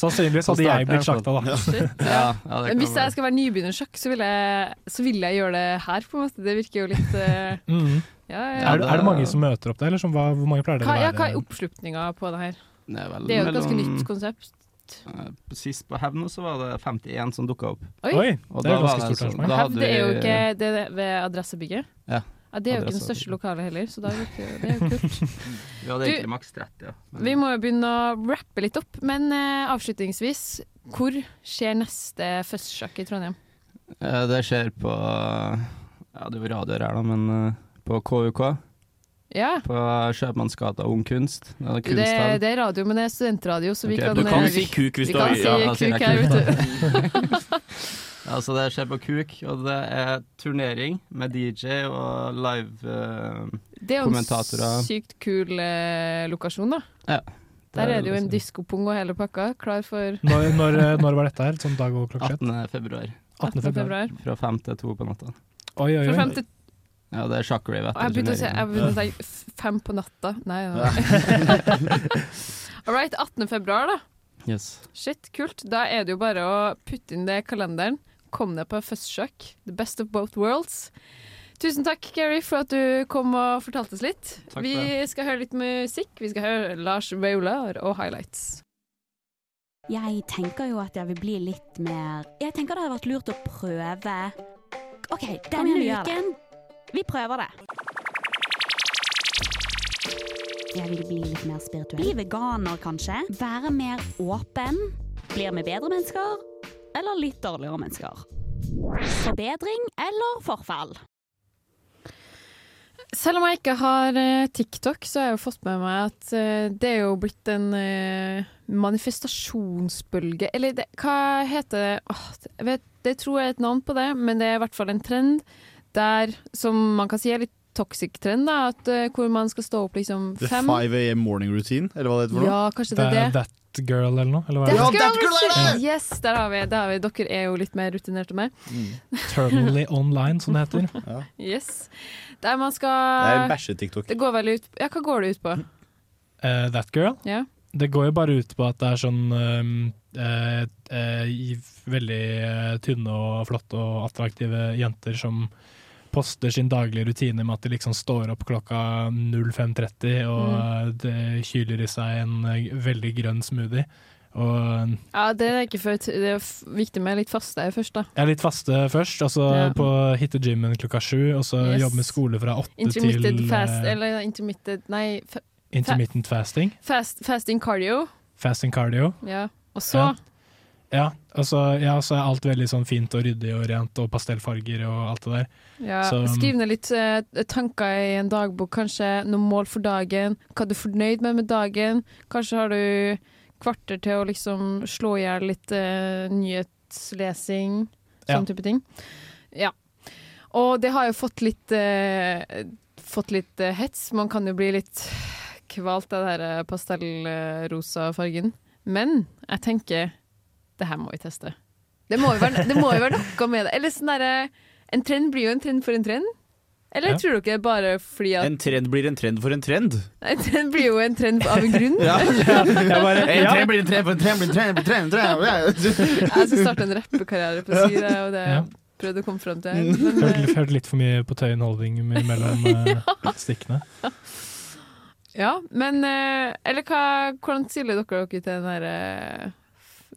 C: Sannsynligvis hadde jeg blitt slakta, da.
J: Ja, ja, det
B: Men
J: kan
B: hvis
J: være.
B: jeg skal være nybegynner i sjakk, så vil, jeg, så vil jeg gjøre det her, på en måte. Det virker jo litt eh,
C: Mhm.
B: ja, ja, ja.
C: Er, det- er det mange som møter opp der, eller som, hva, hvor mange pleier det å
B: Hva, ja, hva er
C: være?
B: oppslutninga på det her?
J: Det er, vel
B: Det er jo et ganske
J: mellom-
B: nytt konsept.
J: Eh, Sist på Hevn så var det 51 som dukka opp.
B: Oi. Oi,
J: Og
C: det er
J: da var
C: ganske stort
J: sånn-
C: arrangement.
J: da
B: Hev,
J: hadde
B: det er jo
J: vi-
B: ikke det er ved adressebygget. det er
J: Ja.
B: jo ikke den
J: Adressebygget.
B: største lokalet heller, så da virker jo- det er jo kult.
J: Vi hadde
B: Du-
J: egentlig maks 30. Ja. Men-
B: Vi må jo begynne å rappe litt opp, men eh, avslutningsvis, hvor skjer neste festsjakk i Trondheim?
J: Eh, Det skjer på eh, Ja, det er jo radioer her, da, men eh, på KUK.
B: Ja.
J: På Kjøpmannsgata Ung Kunst. Det er
B: Det,
J: kunsthall.
B: det er radio, men det er studentradio, så vi
J: Ok,
B: kan
J: du kan
B: eh,
J: si
B: vi-
J: kuk hvis
B: vi
J: du
B: kan
J: har-
B: si
J: ja, da sier
B: kuk
J: jeg
B: her,
J: kuk.
B: vet du.
J: Ja, så Altså, det skjer på KUK, og det er turnering med DJ og live eh,
B: Det er jo
J: kommentatorer.
B: en sykt kul eh, lokasjon, da.
J: Ja.
B: Der er det jo en
J: liksom-
B: diskopung og hele pakka, klar for
C: Når, når, når var dette her? Sånn dag og klokkeslett?
J: 18. februar.
C: 18. februar.
J: Fra fem til to på natta.
C: Oi, oi,
B: Fra
C: oi.
B: fem til
J: Ja, det er sjakkrave
B: Å, Jeg
J: etter
B: begynte å, se, jeg begynte å
J: turneringen.
B: tenke f- fem på natta. Nei, nei. All right, 18. februar, da.
J: Yes.
B: Shit, kult. Da er det jo bare å putte inn det i kalenderen. Kom deg på festsjakk. The best of both worlds. Tusen takk, Gary, for at du kom og fortalte oss litt.
J: Takk for
B: Vi
J: det.
B: skal høre litt musikk. Vi skal høre Lars Vaular og Highlights.
H: Jeg tenker jo at jeg vil bli litt mer Jeg tenker det hadde vært lurt å prøve. OK,
K: Kom
H: denne
K: igjen, vi gjør det.
H: uken Vi prøver det. Jeg vil bli litt mer spirituell. Bli veganer, kanskje. Være mer åpen. Blir vi bedre mennesker? Eller litt dårligere mennesker? Forbedring eller forfall?
B: Selv om jeg ikke har eh, TikTok, så har jeg jo fått med meg at eh, det er jo blitt en eh, manifestasjonsbølge Eller det, hva heter det? Åh, jeg vet, det tror jeg er et navn på det, men det er i hvert fall en trend der, som man kan si er litt toxic trend, da, at, eh, hvor man skal stå opp liksom
D: The
B: fem
D: 5 AM morning routine, eller hva det heter for noe?
B: Ja, kanskje det er det.
C: That girl, eller noe? Eller hva
B: That
C: er det?
B: girl shit! Yes, der har vi det. Har vi. Dere er jo litt mer rutinerte enn meg.
D: Mm.
C: Terminally online, som det heter.
B: Yes. Der man skal
C: Det
B: Eh,
C: er en bæsje-TikTok.
B: Det går vel ut Ja, hva går det ut på?
C: Eh, that girl.
B: Ja.
C: Det går jo bare ut på at det er sånn eh, eh, eh, i- veldig eh, tynne og flotte og attraktive jenter som poster sin daglige rutine med at de liksom står opp klokka
B: Mm.
C: 05.30 og eh, det kyler i seg en eh, veldig grønn smoothie. Og
B: Ja, det er ikke for, det er f- viktig med litt faste først, da.
C: jeg er litt faste først, og så
B: Ja.
C: på hitte gymmen klokka sju, og så
B: Yes.
C: jobbe med skole fra åtte til
B: Intermitted fast,
C: eh,
B: eller intermitted Nei, fa-
C: intermittent fasting.
B: fast, fasting cardio.
C: Fasting cardio.
B: Ja. Og så
C: Ja. Ja, og så ja, så er alt veldig sånn fint og ryddig og rent, og pastellfarger og alt det der.
B: ja,
C: Så- um,
B: skriv ned litt eh, tanker i en dagbok, kanskje noen mål for dagen. Hva er du fornøyd med med dagen? Kanskje har du kvarter til å liksom slå i hjel litt eh, nyhetslesing, sånn
L: Ja.
B: type ting. Ja. Og det har jo fått litt, eh, fått litt eh, hets. Man kan jo bli litt kvalt av den her pastellrosa fargen. Men jeg tenker det her må vi teste. Det må jo være, det må jo være noe med det. Eller sånn derre En trend blir jo en trend for en trend. Eller
D: Ja.
B: tror dere bare fordi at
D: En trend blir en trend for en trend.
B: En trend blir jo en trend av en grunn.
D: Ja.
B: bare-
D: en
B: ja.
D: trend blir en trend for en trend blir en trend blir en trend. blir en trend.
B: Jeg skal starte en rappekarriere på si, det er jo det jeg prøvde å komme fram til. Men,
D: Mm.
B: eh,
C: Hørte, hørte litt for mye på Tøyen Holding mellom eh, stikkene.
B: Ja, men eh, Eller hva, hvordan stiller dere dere til den eh, derre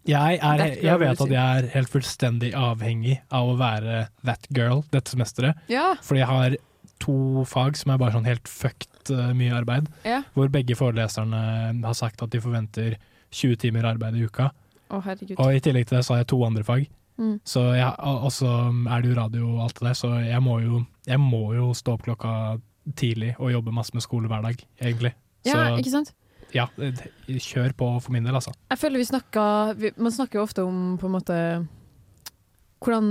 C: Jeg, er,
B: That girl,
C: jeg vet
B: vil
C: at
B: du si.
C: jeg er helt fullstendig avhengig av å være that girl dette semesteret.
B: Ja.
C: Fordi jeg har to fag som er bare sånn helt fucked eh, mye arbeid.
B: Ja.
C: Hvor begge foreleserne har sagt at de forventer 20 timer arbeid i uka.
B: Å, herregud.
C: Og i tillegg til det så har jeg to andre fag.
B: Mm.
C: Så jeg, og og så er det jo radio og alt det der, så jeg må jo, jeg må jo stå opp klokka tidlig og jobbe masse med skole hver dag, egentlig.
B: Ja,
C: så,
B: ikke sant?
C: Ja, det- kjør på for min del, altså.
B: Jeg føler vi snakker vi, Man snakker jo ofte om på en måte hvordan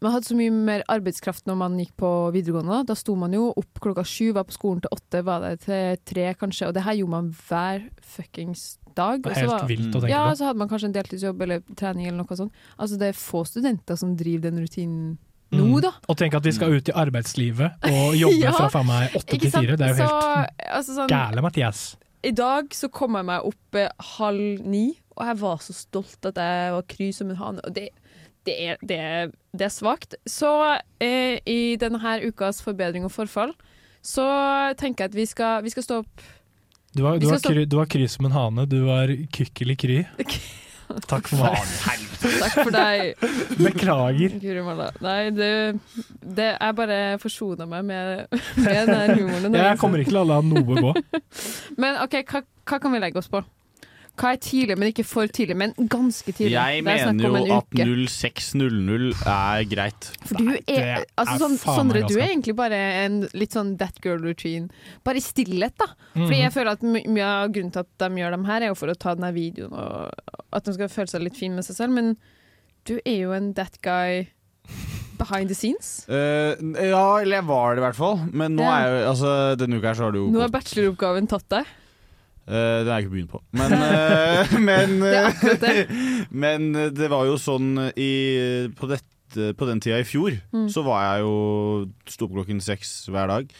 B: Man hadde så mye mer arbeidskraft når man gikk på videregående. Da sto man jo opp klokka sju, var på skolen til åtte, var der til tre kanskje. Og det her gjorde man hver fuckings dag.
C: Det
B: Og
C: er
B: så
C: helt
B: var-
C: vilt å tenke
B: ja,
C: på.
B: Så hadde man kanskje en deltidsjobb eller trening eller noe sånt. Altså det er få studenter som driver den rutinen
C: Mm.
B: nå, da.
C: Og tenk at vi skal ut i arbeidslivet og
B: altså-
C: jobbe
B: Ja,
C: fra faen meg åtte
B: ikke
C: til
B: sant?
C: fire. Det er jo
B: Så,
C: helt
B: altså sånn-
C: gæle, Mathias.
B: I dag så kom jeg meg opp eh, halv ni, og jeg var så stolt at jeg var kry som en hane. Og det, det, er, det, er, det er svakt. Så eh, i denne her ukas forbedring og forfall, så tenker jeg at vi skal, vi skal stå opp
C: Du var,
B: Vi
C: du,
B: skal
C: var
B: stå-
C: kry, du var kry som en hane. Du var kykkeli kry. Takk for meg.
B: Takk for deg.
C: Beklager.
B: Guri malla. Nei, det, det Jeg bare forsona meg med, med den her humoren. Det er
C: Jeg kommer ikke til å la noe gå.
B: Men OK, hva, hva kan vi legge oss på? Hva er tidlig, men ikke for tidlig? Men ganske tidlig.
D: Jeg
B: Det er snakk
D: mener
B: om
D: jo
B: en
D: at
B: uke.
D: 06.00 er greit.
B: For du er,
D: det
B: altså,
D: er
B: sånn,
D: faen
B: Sondre,
D: meg
B: du er
D: galskap.
B: egentlig bare en litt sånn that girl routine. Bare i stillhet, da. Fordi
L: Mhm.
C: Mm-hmm.
B: jeg føler at my- mye av grunnen til at de gjør dem her, er jo for å ta den her videoen og at de skal føle seg litt fin med seg selv, men du er jo en that guy behind the scenes.
D: Eh, ja, eller jeg var det i hvert fall. Men nå
B: Ja.
D: er jo altså, denne uka her så har det jo
B: Nå har bacheloroppgaven tatt deg.
D: Eh, det har jeg ikke begynt på. Men, eh, men, men det var jo sånn i, på, dette, på den tida i fjor,
M: Mm.
D: så var jeg jo Sto opp klokken seks hver dag.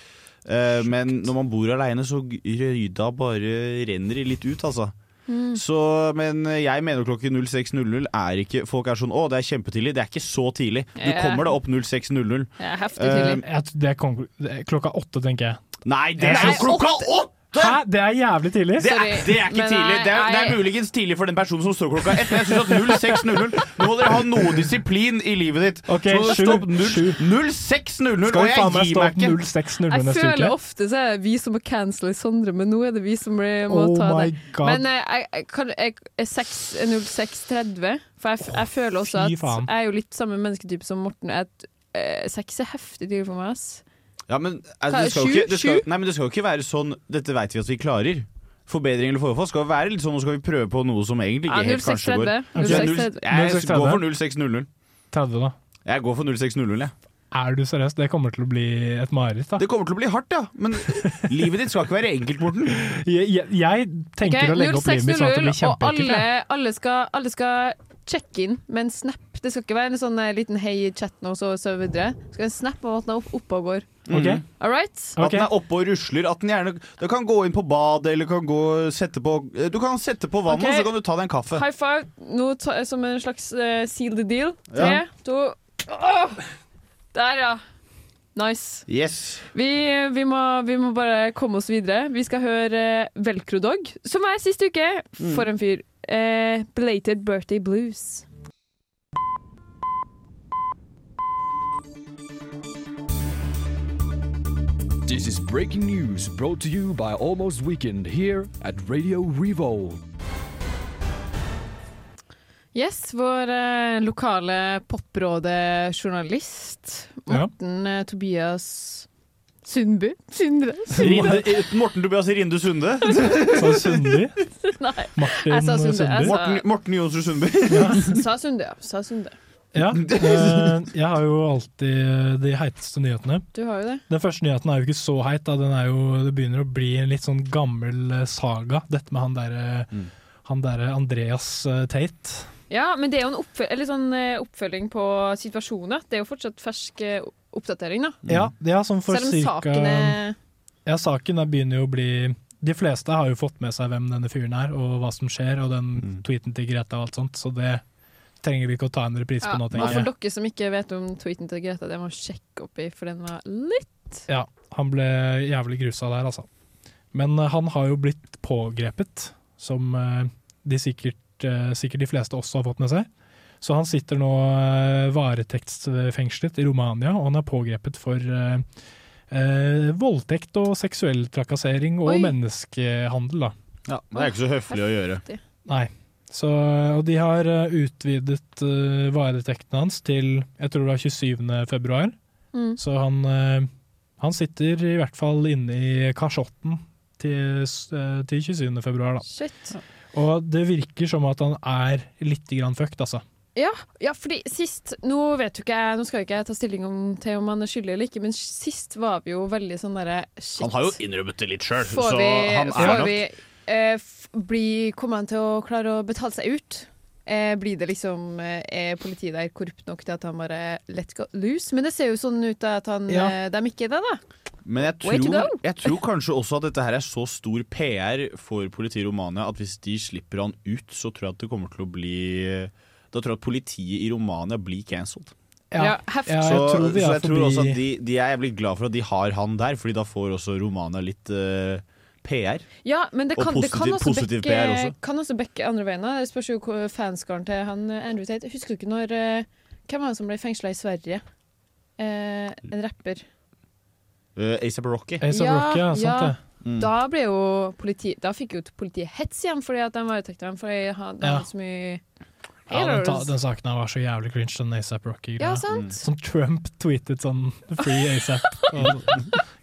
D: Eh, men når man bor aleine, så g- røyda bare renner litt ut, altså.
M: Mm.
D: Så, men eh, jeg mener klokken 06.00 er ikke Folk er sånn 'Å, det er kjempetidlig'. Det er ikke så tidlig. Du
C: Ja.
D: kommer deg opp 06.00.
C: Eh, jeg tror det er kon- det er klokka åtte, tenker jeg.
D: Nei, det er jo klokka åtte!
C: Hæ? Det er jævlig tidlig.
D: Det er, det er ikke tidlig. Det er, det er muligens tidlig for den personen som står klokka ett. Men jeg synes at 06.00 Nå må dere ha noe disiplin i livet ditt.
C: Ok,
D: så må dere
C: sju,
D: stå opp null- 06.00,
C: Skal
D: og
C: vi faen
D: jeg
C: meg
D: gir
C: stå
D: meg
C: opp
D: ikke.
C: 06.00
B: Jeg
C: neste
B: føler
C: uke?
B: ofte så er det vi som må cancele Sondre, men nå er det vi som blir, må
C: Oh
B: ta
C: my
B: det.
C: God.
B: Men eh, jeg, jeg, kan- jeg, eh, jeg 6 06.30, for jeg, f- jeg føler også
D: fy
B: at
D: faen.
B: jeg er jo litt samme mennesketype som Morten. At, eh, Seks er heftig tidlig for meg, ass.
D: Ja, men,
B: Hva,
D: altså, det skal jo
B: sju?
D: ikke, det skal,
B: Sju?
D: nei, men det skal jo ikke være sånn Dette vet vi at vi klarer. Forbedring eller forfall skal jo være litt sånn nå skal vi prøve på noe som egentlig
B: Ja,
D: ikke helt kanskje går.
B: 06.30.
D: Ja, null-
B: 06.30.
D: Jeg går for 06.00.
C: 30, da.
D: Jeg går for 06.00, jeg.
C: Er du seriøs? Det kommer til å bli et mareritt, da.
D: Det kommer til å bli hardt, ja. Men livet ditt skal ikke være enkelt, Morten.
C: Jeg, jeg, jeg tenker
B: Ok,
C: å legge opp livet mitt sånn at det blir
B: 06.00, og
C: kjempeekkelt.
B: alle,
C: jeg.
B: alle, skal, alle skal sjekke inn med en snap. Det skal ikke være en sånn eh, liten hei i chatten og så, så videre. Det skal være en snap av at den er opp, oppe og går.
C: Mm.
D: Ok.
B: All right?
D: At den er oppe og rusler. At den gjerne Du kan gå inn på badet, eller kan gå, sette på Du kan sette på vannet,
B: Ok.
D: og så kan du ta deg en kaffe.
B: High five nå ta, som en slags eh, seal the deal. Tre,
D: Ja.
B: to Åh! Der, ja. Nice.
D: Yes.
B: Vi, vi, må, vi må bare komme oss videre. Vi skal høre eh, Velcro Dog, som er siste uke.
D: Mm.
B: For en fyr. eh, Belated Birthday Blues.
L: This is breaking news brought to you by Almost Weekend here at Radio Revolt.
B: Yes, vår eh, lokale poprådejournalist Morten eh, Tobias Sundby? Sindre? Sundby?
D: Morten Tobias Rinde Sunde.
C: Sa Sundby?
B: Nei.
D: Martin
B: Jeg sa Sunde, jeg Sundby? sa-
D: Morten, Morten Jonsrud Sundby.
B: Sa Sunde, ja. Sa Sunde.
C: Ja, eh, jeg har jo alltid eh, de heiteste nyhetene.
B: Du har jo det.
C: Den første nyheten er jo ikke så heit, da. Den er jo, det begynner å bli en litt sånn gammel eh, saga, dette med han derre han derre Andreas eh, Tate.
B: Ja, men det er jo en oppføl eller sånn eh, oppfølging på situasjonen. Det er jo fortsatt fersk eh, oppdatering, da.
C: Ja,
D: Mm.
C: det er sånn for
B: Selv om
C: cirka
B: sakene
C: Ja, saken der begynner jo å bli De fleste har jo fått med seg hvem denne fyren er, og hva som skjer, og den tweeten til Greta og alt sånt, så det trenger vi ikke å ta en reprise
B: ja,
C: på nå,
B: Og
C: tenker
B: for
C: jeg.
B: dere som ikke vet om tweeten til Greta, det må jeg sjekke opp i, for den var litt
C: Ja, han ble jævlig grusa der, altså. Men eh, han har jo blitt pågrepet, som eh, de sikkert, eh, sikkert de fleste også har fått med seg. Så han sitter nå eh, varetektsfengslet i Romania, og han er pågrepet for eh, eh, voldtekt og seksuell trakassering og
D: Oi.
C: menneskehandel, da.
D: Ja, det er ikke så høflig å gjøre.
C: Nei. Så, og de har eh, utvidet uh, varetekten hans til jeg tror det var 27. februar.
B: Mm.
C: Så han, eh, han sitter i hvert fall inne i kasjotten til, s- eh, til 27. februar, da.
B: Shit.
C: Og det virker som at han er litt grann fucked, altså.
B: Ja, ja, fordi sist Nå vet jo ikke jeg, nå skal jo ikke jeg ta stilling om, til om han er skyldig eller ikke, men sist var vi jo veldig sånn derre shit.
D: Han har jo innrømmet det litt sjøl, så
B: Får vi,
D: han er
B: får
D: nok
B: vi eh, f- bli, Kommer han til å klare å betale seg ut? Eh, blir det liksom eh, Er politiet der korrupt nok til at han bare let go loose? Men det ser jo sånn ut da at han,
D: Ja.
B: eh, de ikke er det, da.
D: Men jeg
B: Way to
D: tror,
B: go!
D: jeg tror kanskje også at dette her er så stor PR for politiet i Romania at hvis de slipper han ut, så tror jeg at det kommer til å bli Da tror jeg at politiet i Romania blir cancelled.
C: Ja, Ja, heft. ja, jeg
D: så,
C: tror vi er
D: så jeg tror også
C: forbi-
D: at de, de er jævlig glad for at de har han der, Fordi da får også Romania litt eh, PR.
B: Ja, men det
D: Og
B: kan, det kan
D: positiv-
B: også
D: positiv
B: bekke,
D: PR også.
B: kan også bekke andre veien. da. Det spørs jo hvor fanskaren til han eh, Andrew Tate Husker du ikke når eh, Hvem var han som ble fengsla i Sverige? Eh, en rapper.
D: Uh, ASAP Rocky. Mm.
B: Da ble jo politi Da fikk jo politiet hets igjen fordi at de varetekte ham fordi han de
C: Ja.
B: hadde så mye
C: Ja, den, ta,
B: haters.
C: den saken her var så jævlig cringe, den ASAP Rocky-greia.
B: Ja, sant?
D: Mm.
C: Som Trump tweetet sånn 'free ASAP'. og-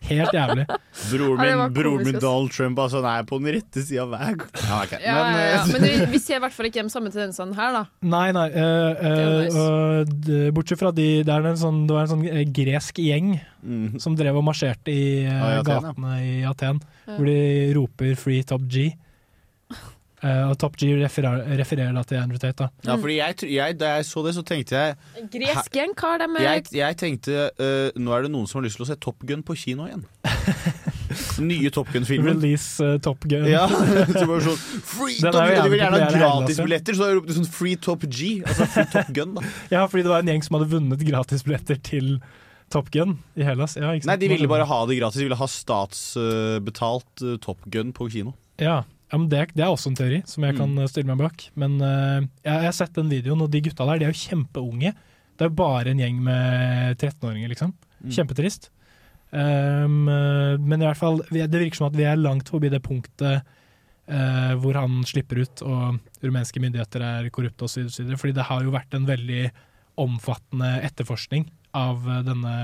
C: Helt jævlig.
D: Broren
B: Ja,
D: min,
B: det var
D: broren
B: komisk,
D: min
B: ass.
D: Donald Trump altså, han er på den rette sida hver gang. Ja,
C: Sånn.
D: ok.
B: ja,
D: Men,
B: ja, ja.
D: eh,
B: Men vi, vi ser i hvert fall ikke de samme tendensene her, da.
C: Nei, nei. eh, eh, og d- bortsett fra de Det, er en sånn, det var en sånn eh, gresk gjeng
D: mm.
C: som drev og marsjerte i eh,
D: Ja, i Aten, ja.
C: gatene i Aten,
B: Ja.
C: hvor de roper 'Free Top G'. Eh, og Top G referer, refererer da til Andrew Tate. Da.
D: ja, fordi jeg, tr- jeg, da jeg så det, så tenkte jeg
B: Gresk gjeng, hva har de med
D: Jeg, jeg tenkte eh, nå er det noen som har lyst til å se Top Gun på kino igjen. Nye Top Gun-filmen.
C: Release eh, Top Gun.
D: Ja, så bare sånn Free
C: Den
D: Top
C: er jo
D: Gun! De vil
C: jævlig
D: gjerne ha
C: populær i hele Asia.
D: gratisbilletter, så da ropte de sånn Free Top G. Altså Free Top Gun, da.
C: Ja, fordi det var en gjeng som hadde vunnet gratisbilletter til Top Gun i Hellas. Ja, ikke sant?
D: Nei, de ville bare ha det gratis. De ville ha statsbetalt eh, Top Gun på kino.
C: Ja, ja men det, er- det er også en teori som jeg kan eh, stille meg bak. Men eh, jeg, jeg har sett den videoen, og de gutta der de er jo kjempeunge. Det er jo bare en gjeng med 13-åringer, liksom. Kjempetrist. Um, eh, men i hvert fall, vi, det virker som at vi er langt forbi det punktet eh, hvor han slipper ut og rumenske myndigheter er korrupte osv. Fordi det har jo vært en veldig omfattende etterforskning av eh, denne,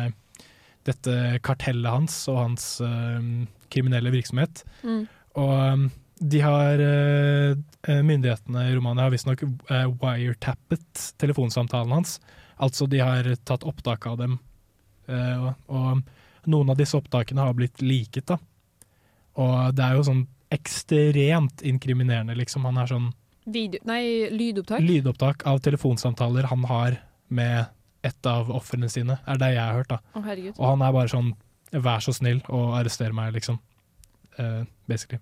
C: dette kartellet hans og hans eh, kriminelle virksomhet.
N: Mm.
C: Og um, de har eh, Myndighetene i Romania har visstnok eh, wiretappet telefonsamtalen hans. Altså de har tatt opptak av dem. Eh, og, og noen av disse opptakene har blitt liket, da. Og det er jo sånn ekstremt inkriminerende, liksom. Han har sånn
B: video... Nei, lydopptak?
C: lydopptak av telefonsamtaler han har med et av ofrene sine, er det jeg har hørt, da.
B: Å, herregud.
C: og han er bare sånn 'vær så snill og arrester meg', liksom. Eh, basically.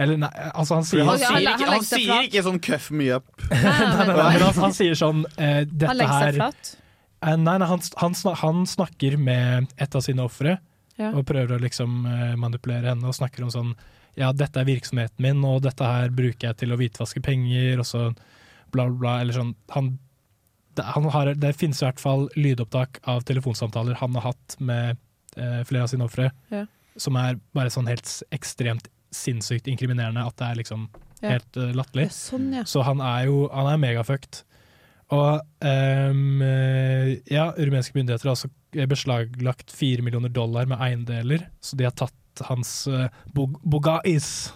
C: Eller nei, altså han sier
D: Fordi han
B: Ok, han
D: sier
B: la-
D: ikke,
B: han
D: han
B: legger seg
D: sier
B: flat.
D: ikke sånn 'cuff me up'.
C: Nei, nei, nei, men altså, han sier sånn eh, dette
B: Han legger seg
C: her-
B: flat.
C: Eh, nei, nei han, han, snak, han snakker med et av sine ofre
B: Ja.
C: og prøver å liksom eh, manipulere henne og snakker om sånn ja, dette er virksomheten min, og dette her bruker jeg til å hvitvaske penger, og så bla, bla, bla. Eller sånn. Han, det, han har, det finnes i hvert fall lydopptak av telefonsamtaler han har hatt med eh, flere av sine ofre,
B: Ja.
C: som er bare sånn helt s- ekstremt sinnssykt inkriminerende, at det er liksom
B: Ja.
C: helt eh, latterlig.
B: Ja, sånn, ja.
C: Så han er jo han er megafucked. Og ehm, eh, ja, rumenske myndigheter har også beslaglagt fire millioner dollar med eiendeler, så de har tatt hans eh, bog bogais.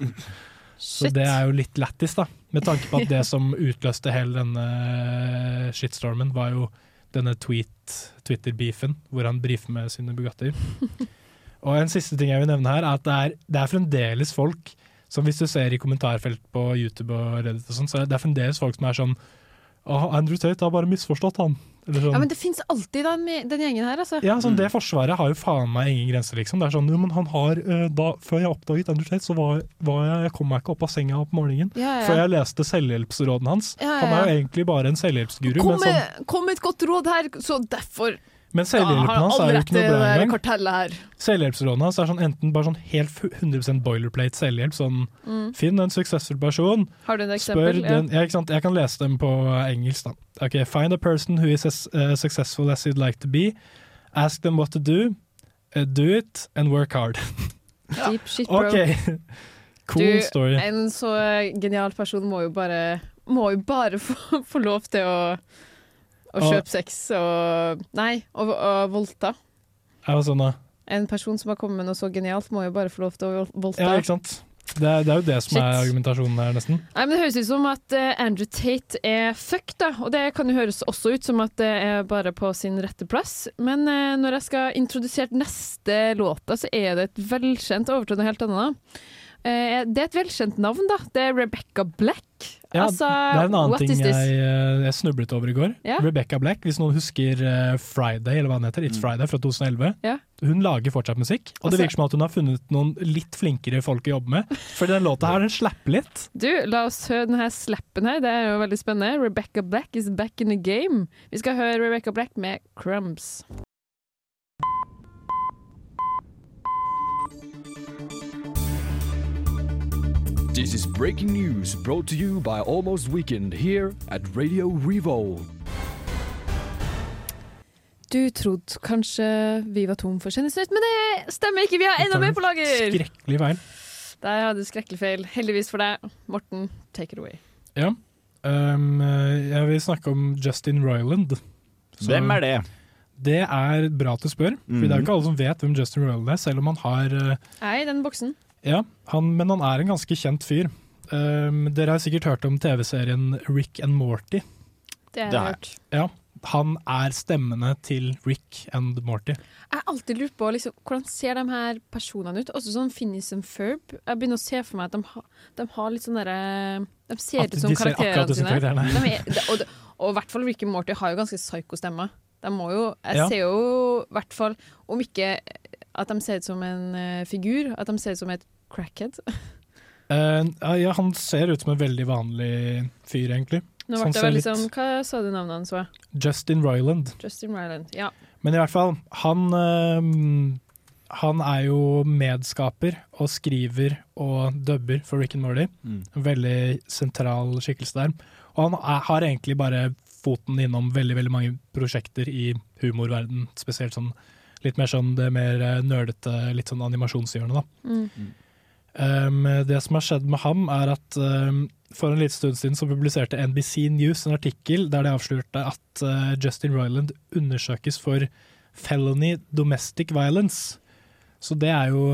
C: Så
B: Shit.
C: det er jo litt lættis, da. Med tanke på at
B: Ja.
C: det som utløste hele denne shitstormen, var jo denne tweet, Twitter-beefen, hvor han brifer med sine Bugatti. Og en siste ting jeg vil nevne her, er at det er, det er fremdeles folk som hvis du ser i kommentarfelt på YouTube og Reddit og sånn, så er det fremdeles folk som er sånn Å, Andrew Tate har bare misforstått, han. Eller sånn.
B: Ja, men det fins alltid den, den gjengen her, altså.
C: Ja, sånn, Det forsvaret har jo faen meg ingen grenser, liksom. Det er sånn, jo, men han har, eh, da, Før jeg oppdaget Andrew Tate, så var, var jeg, jeg kom meg ikke opp av senga på morgenen.
B: Ja, ja.
C: Før jeg leste selvhjelpsrådene hans.
B: Ja, ja,
C: Han er jo
B: ja.
C: egentlig bare en selvhjelpsguru,
B: Kom
C: men, sånn,
B: med, kom med et godt råd her, så derfor
C: men selvhjelpen hans er jo ikke noe bra
B: det der
C: engang.
B: kartellet her.
C: Selvhjelpsrådene hans er sånn, enten bare sånn helt fu- 100 boilerplate selvhjelp, sånn
B: Mm.
C: finn en suksessfull person,
B: Har du et
C: Spør
B: eksempel?
C: den, ja, ikke sant? Jeg kan lese dem på engelsk. da. Ok, Find a person who is as uh, successful as you'd like to be. Ask them what to do. Uh, do it and work hard.
B: ja. Deep shit, bro.
C: ok, cool
B: du,
C: story.
B: En så genial person må jo bare, må jo bare få, få lov til å, å
C: Og-
B: kjøpe sex og Nei, og, og voldta.
C: Er det sånn, da?
B: En person som har kommet med noe så genialt, må jo bare få lov til å vol- voldta.
C: Ja, ikke sant? Det er, det er jo det som
B: Shit.
C: er argumentasjonen her, nesten.
B: Nei, men Det høres ut som at eh, Andrew Tate er fucked, da. Og det kan jo høres også ut som at det er bare på sin rette plass. Men eh, når jeg skal introdusere neste låta, så er det et velkjent overtone og helt annet. da. Eh, det er et velkjent navn, da. Det er Rebecca Black.
C: Ja,
B: altså,
C: det er en annen
B: what
C: ting
B: is
C: jeg,
B: this?
C: eh, jeg snublet over i går.
B: Ja.
C: Rebecca Black, hvis noen husker eh, Friday, eller hva den
D: Mm.
C: heter, It's Friday fra 2011.
B: Ja.
C: Hun lager fortsatt musikk, og
B: Altså-
C: det virker som at hun har funnet noen litt flinkere folk å jobbe med. For den låta her, den slapper litt.
B: Du, la oss høre denne slappen her. Det er jo veldig spennende. Rebecca Black is back in the game. Vi skal høre Rebecca Black med Crumbs.
L: This is breaking news brought to you by Almost Weekend here at Radio Revolt.
B: Du trodde kanskje vi var tom for Kjendisnytt, men det stemmer ikke. Vi har enda mer på lager!
C: Skrekkelig feil.
B: Der hadde du skrekkelig feil. Heldigvis for deg. Morten, take it away.
C: Ja. Um, jeg vil snakke om Justin Roiland.
D: Hvem er det? Mm.
C: Det er bra at du spør, for det er jo ikke alle som vet hvem Justin Roiland er, selv om han har uh,
B: Jeg er i den boksen.
C: Ja, han, men han er en ganske kjent fyr. Um, dere har sikkert hørt om TV-serien Rick and Morty.
B: Det har jeg Det har jeg. hørt.
C: Ja, han er stemmene til Rick and Morty.
B: Jeg har alltid lurt på liksom, hvordan ser de her personene ut. Også sånn Finnis and Ferb. Jeg begynner å se for meg at de, ha, de har litt sånn derre De ser
C: At
B: ut som
C: de ser akkurat
B: karakterene
C: ut som
B: sine.
C: karakterene.
B: De er, de- og, de- og i hvert fall Ricky Morty har jo ganske psyko-stemme. De må jo Jeg
C: Ja.
B: ser jo i hvert fall, om ikke at de ser ut som en eh, figur, at de ser ut som et crackhead.
C: Uh, ja, han ser ut som en veldig vanlig fyr, egentlig.
B: Nå ble
C: Så han
B: det
C: ser
B: vel
C: litt-
B: liksom, Hva sa du navnet hans var?
C: Justin Roiland.
B: Justin Ryland. Ja.
C: Men i hvert fall, han, øhm, han er jo medskaper og skriver og dubber for Rick and Morty.
D: Mm.
C: En veldig sentral skikkelse der. Og han er, har egentlig bare foten innom veldig veldig mange prosjekter i humorverden, spesielt sånn litt mer sånn det mer eh, nerdete, litt sånn animasjonshjørnet, da.
B: Mm.
C: Um, det som har skjedd med ham, er at um, for en liten stund siden så publiserte NBC News en artikkel der de avslørte at uh, Justin Roiland undersøkes for felony domestic violence. Så det er jo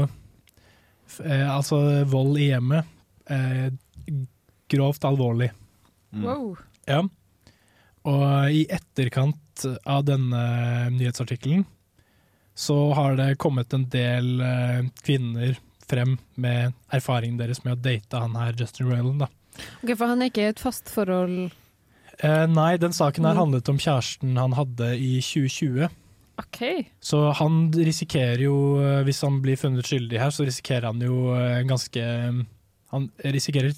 C: f- eh, altså vold i hjemmet. Eh, grovt alvorlig. Mm.
B: Wow.
C: Ja. Og i etterkant av denne nyhetsartikkelen så har det kommet en del eh, kvinner frem med erfaringen deres med å date han her Justin Roiland. Da.
B: Ok, For han er ikke i et fast forhold
C: Eh, nei, den saken her handlet om kjæresten han hadde i 2020.
B: OK.
C: Så han risikerer jo, eh, hvis han blir funnet skyldig her, så risikerer han jo eh, ganske Han risikerer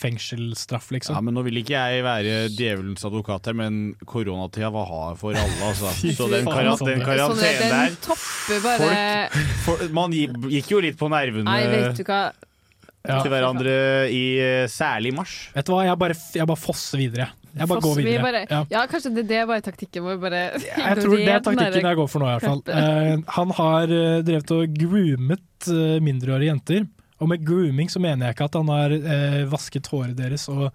C: fengselsstraff, liksom.
D: Ja, men Nå vil ikke jeg være djevelens advokat her, men koronatida var hard for alle. Altså.
C: Fy
D: Så den,
C: faen,
D: karan-
C: Sander.
D: den
B: Sånn,
D: karantenen der
B: den topper bare
D: for, Man gi- gikk jo litt på nervene.
B: Nei, vet du hva.
C: Ja.
D: til hverandre i eh, særlig i mars.
C: Vet du hva, jeg bare, jeg bare fosser videre. Jeg bare går
B: Foss, vi
C: videre.
B: bare-
C: ja.
B: ja, kanskje det, det er bare taktikken vår. Bare
C: Jeg tror det er
B: ignorer den
C: taktikken
B: der
C: jeg går for nå, i hvert fall.
B: preppen.
C: Eh, han har eh, drevet og groomet eh, mindreårige jenter. Og med grooming så mener jeg ikke at han har eh, vasket håret deres og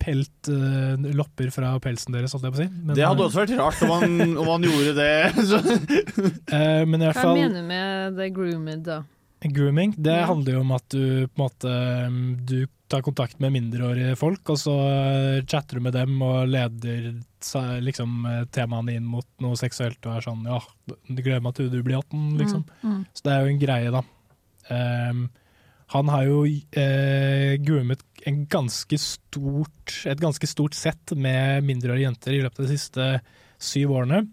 C: pelt eh, lopper fra pelsen deres, holdt jeg på å si. Men,
D: det hadde
C: eh,
D: også vært rart om han, om han gjorde det. Så.
C: eh, men i hvert
B: Hva
C: fall
B: mener du med the groomed, da?
C: Grooming, det handler jo om at du på en måte mm, Du tar kontakt med mindreårige folk, og så eh, chatter du med dem og leder sa- liksom eh, temaene inn mot noe seksuelt og er sånn Ja, du gleder meg til du blir 18, liksom.
M: Mm, mm.
C: Så det er jo en greie, da. Ehm, han har jo eh, groomet en ganske stort, et ganske stort sett med mindreårige jenter i løpet av de siste syv årene.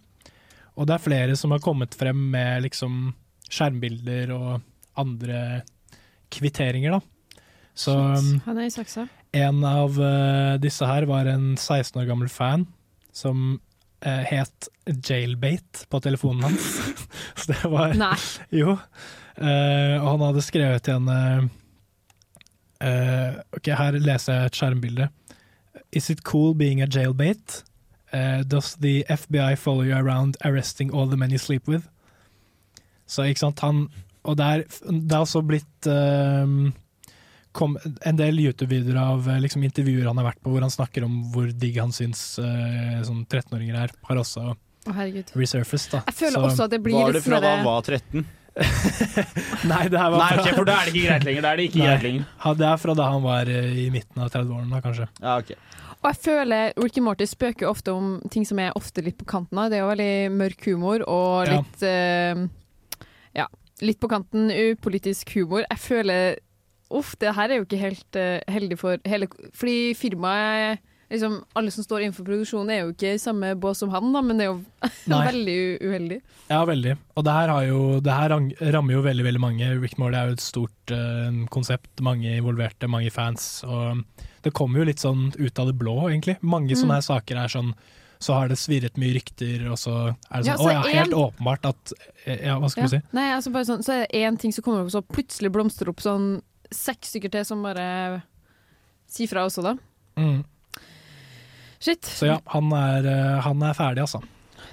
C: Og det er flere som har kommet frem med liksom skjermbilder og andre kvitteringer, da. Så um,
B: Han er i saksa.
C: en av eh, disse her var en 16 år gammel fan som eh, het Jailbait på telefonen hans. Så det var
B: Nei.
C: Jo. Eh, og han hadde skrevet til henne eh, Ok, her leser jeg et skjermbilde. Is it cool being a jailbait? Eh, does the FBI follow you around arresting all the men you sleep with? Så ikke sant, han Og det er, det er også blitt eh, kom en del YouTube-videoer av eh, liksom, intervjuer han har vært på, hvor han snakker om hvor digg han syns eh, sånn 13-åringer er, har også
B: Å, herregud.
C: resurfaced. Da.
B: Jeg føler også at det blir
D: Var
B: litt
D: det fra
B: sånn
D: da
B: der-
D: han var 13?
C: Nei, det her var
D: Nei, ok, for da er det ikke greit lenger, da er det ikke
C: Nei.
D: greit lenger.
C: Ja, det er fra da han var eh, i midten av 30-årene, da, kanskje.
D: Ja, ok.
B: Og jeg føler Ricky Morty spøker ofte om ting som er ofte litt på kanten av. Det er jo veldig mørk humor og
C: Ja.
B: litt eh, Ja, litt på kanten upolitisk humor. Jeg føler Uff, det her er jo ikke helt eh, heldig for hele Fordi firmaet liksom, Alle som står innenfor produksjonen, er jo ikke i samme bås som han, da, men det er jo
C: Nei.
B: veldig u- uheldig.
C: Ja, veldig. Og det her, har jo, det her rang- rammer jo veldig veldig mange. Rick Morley er jo et stort eh, konsept. Mange involverte, mange fans. Og det kommer jo litt sånn ut av det blå, egentlig. Mange sånne
B: Mm.
C: her saker er sånn Så har det svirret mye rykter, og så er det
B: Ja,
C: sånn
B: så
C: Å ja,
B: en-
C: helt åpenbart at eh, Ja, hva
B: Ja.
C: skal vi si?
B: Nei, altså bare sånn, så er det én ting som kommer opp, så plutselig blomstrer opp sånn seks stykker til som bare sier fra også, da.
C: Mm.
B: Shit.
C: Så ja, han er, eh, han er ferdig, altså.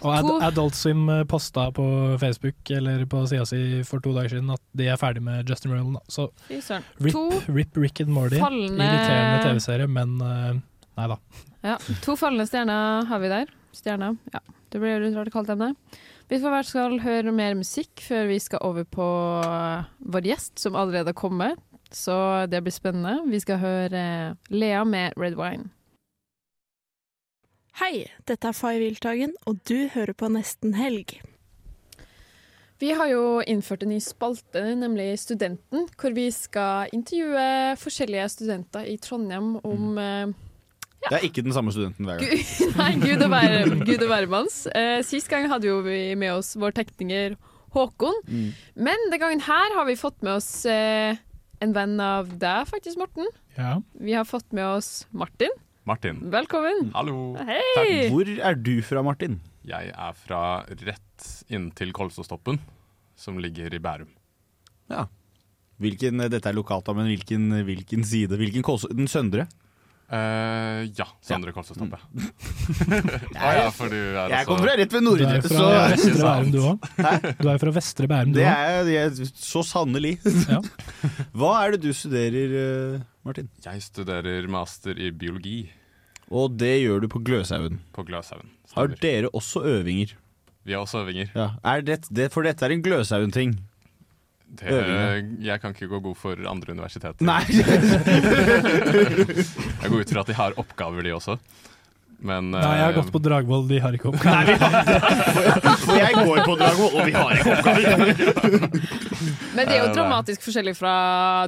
C: Og Ad
B: To-
C: Adult Swim eh, posta på Facebook eller på sida si for to dager siden at de er ferdig med Justin Roiland. da. Så
B: Fy søren.
C: rip,
B: To
C: rip Rick and Morty.
B: fallende-
C: Irriterende TV-serie, men eh, nei da.
B: Ja, To fallende stjerner har vi der. Stjerner, ja. Det blir litt rart å kalle dem det. Vi får hvert skal høre mer musikk før vi skal over på eh, vår gjest, som allerede har kommet. Så det blir spennende. Vi skal høre eh, Lea med Red Wine.
O: Hei, dette er Fay Wiltagen, og du hører på Nesten Helg.
B: Vi har jo innført en ny spalte, nemlig Studenten, hvor vi skal intervjue forskjellige studenter i Trondheim om eh,
D: Det er ikke den samme studenten hver gang.
B: Gud- Nei, Gud og hver- Gud og hvermanns. Eh, sist gang hadde jo vi med oss vår tekniker Håkon.
D: Mm.
B: Men den gangen her har vi fått med oss eh, en venn av deg, faktisk, Morten.
C: Ja.
B: Vi har fått med oss Martin.
D: Martin.
B: Velkommen.
G: Hallo.
B: Hei.
G: Takk.
D: Hvor er du fra, Martin?
G: Jeg er fra rett inntil Kolsåstoppen, som ligger i Bærum.
D: Ja. Hvilken, eh, dette er lokalt, da, men hvilken, eh, hvilken side? Hvilken Kolså- den søndre?
G: Eh, ja, Søndre Kolsåstoppe.
D: Å ja, for
G: du er
D: Jeg
G: altså-
D: kommer fra rett ved Nordre,
C: Du er fra
D: så-
C: Vestre
D: Ikke sant.
C: Bærum, du òg. Du er fra Vestre Bærum, du
D: Det
C: òg.
D: er jeg så sannelig. Hva er det du studerer, eh, Martin?
G: Jeg studerer master i biologi
D: Og det gjør du på Gløshaugen.
G: på Gløshaugen.
D: Har dere også øvinger?
G: Vi har også øvinger.
D: Ja. Er det, det, for dette er en Gløshaugen-ting.
G: Det,
D: Øvingene.
G: jeg kan ikke gå god for andre universiteter.
D: Nei.
G: jeg går ut fra at de har oppgaver, de også. Men eh,
C: Nei, jeg har gått på Dragvoll, de har ikke oppgave.
D: For jeg går på Dragvoll, og vi har ikke
B: Men det er jo
G: Eh,
B: dramatisk forskjellig fra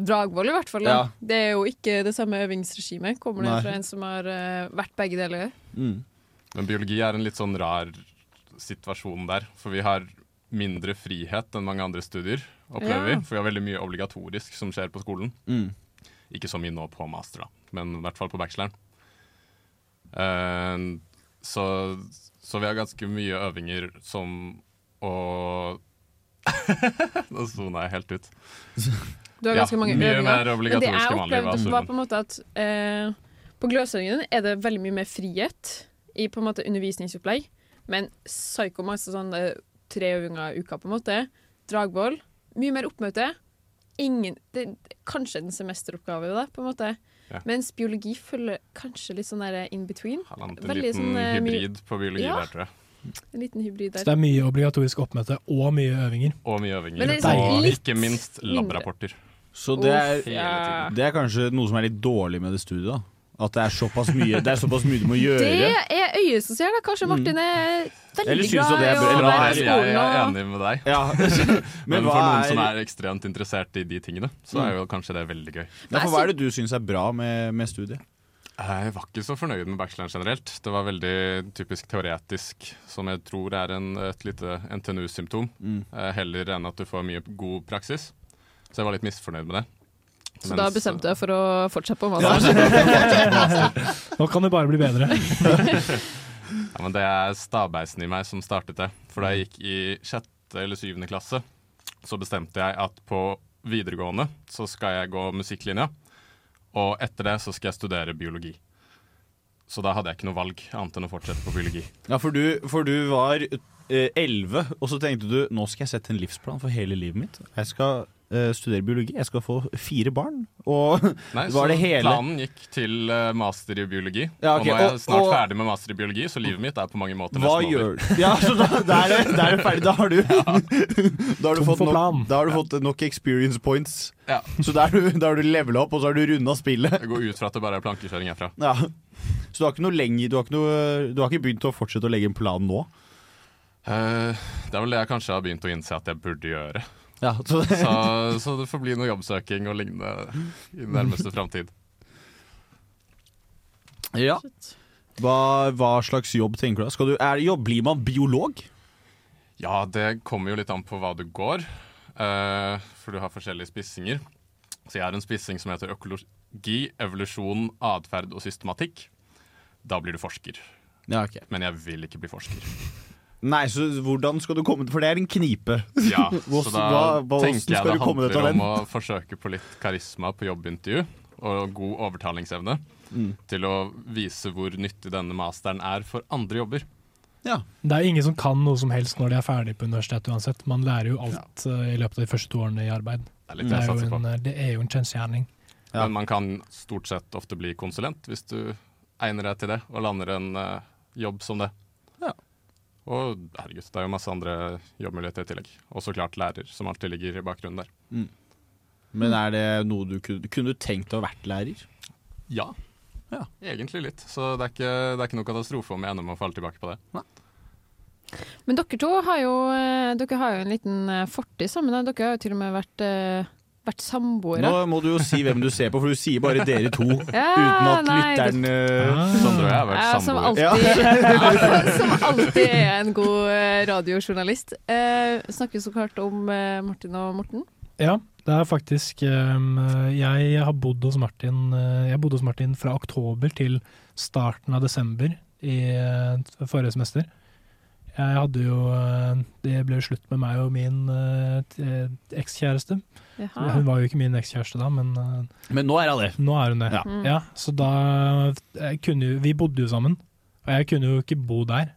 B: Dragvoll, i hvert fall. da.
D: Ja.
B: Det er jo ikke det samme øvingsregimet. Kommer det
G: Nei.
B: fra en som har eh, vært begge deler?
D: Mm,
G: Men biologi er en litt sånn rar situasjon der, for vi har mindre frihet enn mange andre studier, opplever
B: Ja.
G: vi. For vi har veldig mye obligatorisk som skjer på skolen.
D: Mm.
G: Ikke så mye nå på master, da, men i hvert fall på bacheloren. Eh, så, så vi har ganske mye øvinger som å Nå sona jeg helt ut.
B: Du har
G: Ja,
B: ganske mange
G: mye
B: øvinger.
G: mer
B: Men det
G: obligatorisk
B: jeg
G: enn vanlig,
B: opplevde,
G: altså.
B: var på en måte at eh, på Gløshaugen er det veldig mye mer frihet i på en måte undervisningsopplegg. Men Psycho Max er sånn eh, tre øvinger i uka, på en måte. Dragvoll. Mye mer oppmøte. Ingen, det, kanskje en semesteroppgave, da, på en måte.
G: Ja.
B: Mens biologi følger kanskje litt sånn der in between.
G: En
B: Veldig
G: liten
B: sånn, eh, mye-
G: hybrid på biologi
B: ja,
G: der, tror jeg.
B: En liten hybrid der.
C: Så det er mye obligatorisk oppmøte og mye øvinger.
G: Og mye øvinger.
B: Men det er liksom
G: og
B: litt
G: ikke minst
B: mindre.
G: labrapporter.
D: Så det er,
G: Uff, ja.
D: det er kanskje noe som er litt dårlig med det studiet. da At det er såpass mye, det er såpass mye du må gjøre.
B: Det er øyet som ser det. Kanskje Martin er
D: Mm. Eller
B: veldig
D: synes du
B: glad
D: det
B: i
D: er
B: å
D: bra?
B: være
G: Jeg,
B: i
G: jeg
B: skolen.
G: er
B: Og...
G: enig med deg.
D: Men
G: Men
D: hva
G: for noen som
D: er- Mm.
G: er ekstremt interessert i de tingene, så er jo kanskje det veldig gøy.
D: Ja, for hva er det du syns er bra med, med studiet?
G: Jeg var ikke så fornøyd med bacheloren generelt. Det var veldig typisk teoretisk, som jeg tror er en, et lite NTNU-symptom.
D: Mm.
G: eh, Heller enn at du får mye god praksis. Så jeg var litt misfornøyd med det.
B: Så da
G: Mens-
B: bestemte jeg for å fortsette på
G: Ja, så da
B: masteren.
G: bestemte jeg
C: Nå kan det bare bli bedre.
G: Ja, men det er stabeisen i meg som startet det. For da jeg gikk i sjette eller syvende klasse, så bestemte jeg at på videregående så skal jeg gå musikklinja, og etter det så skal jeg studere biologi. Så da hadde jeg ikke noe valg annet enn å fortsette på biologi.
D: Ja, For du, for du var eh, elleve, og så tenkte du nå skal jeg sette en livsplan for hele livet mitt. Jeg skal eh, studere biologi, jeg skal få fire barn. Og
G: Nei, så
D: var det hele
G: planen gikk til eh, master i biologi,
D: Ja, ok,
G: og nå er jeg
D: og-
G: snart
D: og-
G: ferdig med master i biologi, så livet mitt er på mange måter
D: Hva
G: nesten
D: gjør
G: over.
D: du? Ja, så da, da, er det, da er det ferdig. Da har du, da har du,
G: Tom
D: fått,
G: for
D: nok, da har du fått nok experience points.
G: Ja.
D: Så da har du, da har du levela opp, og så har du runda spillet.
G: Jeg går ut fra at det bare er plankekjøring herfra.
D: Ja. Så du har ikke noe lenger du har ikke, noe, du har ikke begynt å fortsette å legge en plan nå?
G: Eh, det er vel det jeg kanskje har begynt å innse at jeg burde gjøre.
D: Ja, så-
G: så, så, det får bli noe jobbsøking og lignende i den nærmeste framtid.
D: Ja. Hva, hva slags jobb tenker du deg? Skal du- er det jobb? Blir man biolog?
G: Ja, det kommer jo litt an på hva du går, eh, for du har forskjellige spissinger. Så jeg har en spissing som heter økologi, evolusjon, atferd og systematikk. Da blir du forsker.
D: Ja, ok.
G: Men jeg vil ikke bli forsker.
D: Nei, så hvordan skal du komme For det er en knipe.
G: Ja,
D: Hvordan-
G: så da
D: hva- hvordan
G: tenker jeg
D: skal
G: det
D: du komme deg ut av
G: handler
D: den?
G: om å forsøke på litt karisma på jobbintervju, og god overtalingsevne
D: Mm.
G: til å vise hvor nyttig denne masteren er for andre jobber.
C: Det er ingen som kan noe som helst når de er ferdig på universitetet uansett. Man lærer jo alt eh, i løpet av de første to årene i arbeid.
G: Det er litt det jeg
C: jo
G: satser på.
C: en, eh, det er jo en kjensgjerning.
G: Men man kan stort sett ofte bli konsulent hvis du egner deg til det og lander en eh, jobb som det.
D: Ja.
G: Og herregud, det er jo masse andre jobbmuligheter i tillegg. Og så klart lærer, som alltid ligger i bakgrunnen der.
D: Mm. Men er det noe du kunne, kunne du tenkt å ha vært lærer?
G: Ja. Egentlig litt, så det er, ikke, det er ikke noe katastrofe om jeg ender med å falle tilbake på det.
B: Men dere to har jo, eh, dere har jo en liten eh, fortid sammen. da. Dere har jo til og med vært, eh, vært samboere.
D: Nå må du jo si hvem du ser på, for du sier bare dere to.
B: Ja,
D: uten at
B: Ah, nei,
D: lytteren eh,
G: Sondre og jeg har
B: Ja, som alltid, som alltid er jeg en god eh, radiojournalist. Eh, snakker så klart om eh, Martin og Morten.
C: Ja, det er faktisk ehm, Jeg har bodd hos Martin eh, Jeg bodde hos Martin fra oktober til starten av desember i eh, forrige semester. Jeg hadde jo eh, Det ble jo slutt med meg og min eh, t- eh, ekskjæreste.
B: Jaha.
C: Hun var jo ikke min ekskjæreste da, men eh,
D: Men nå er han det.
C: nå er hun det.
D: Ja.
B: Mm.
C: Ja, så da jeg kunne jo Vi bodde jo sammen, og jeg kunne jo ikke bo der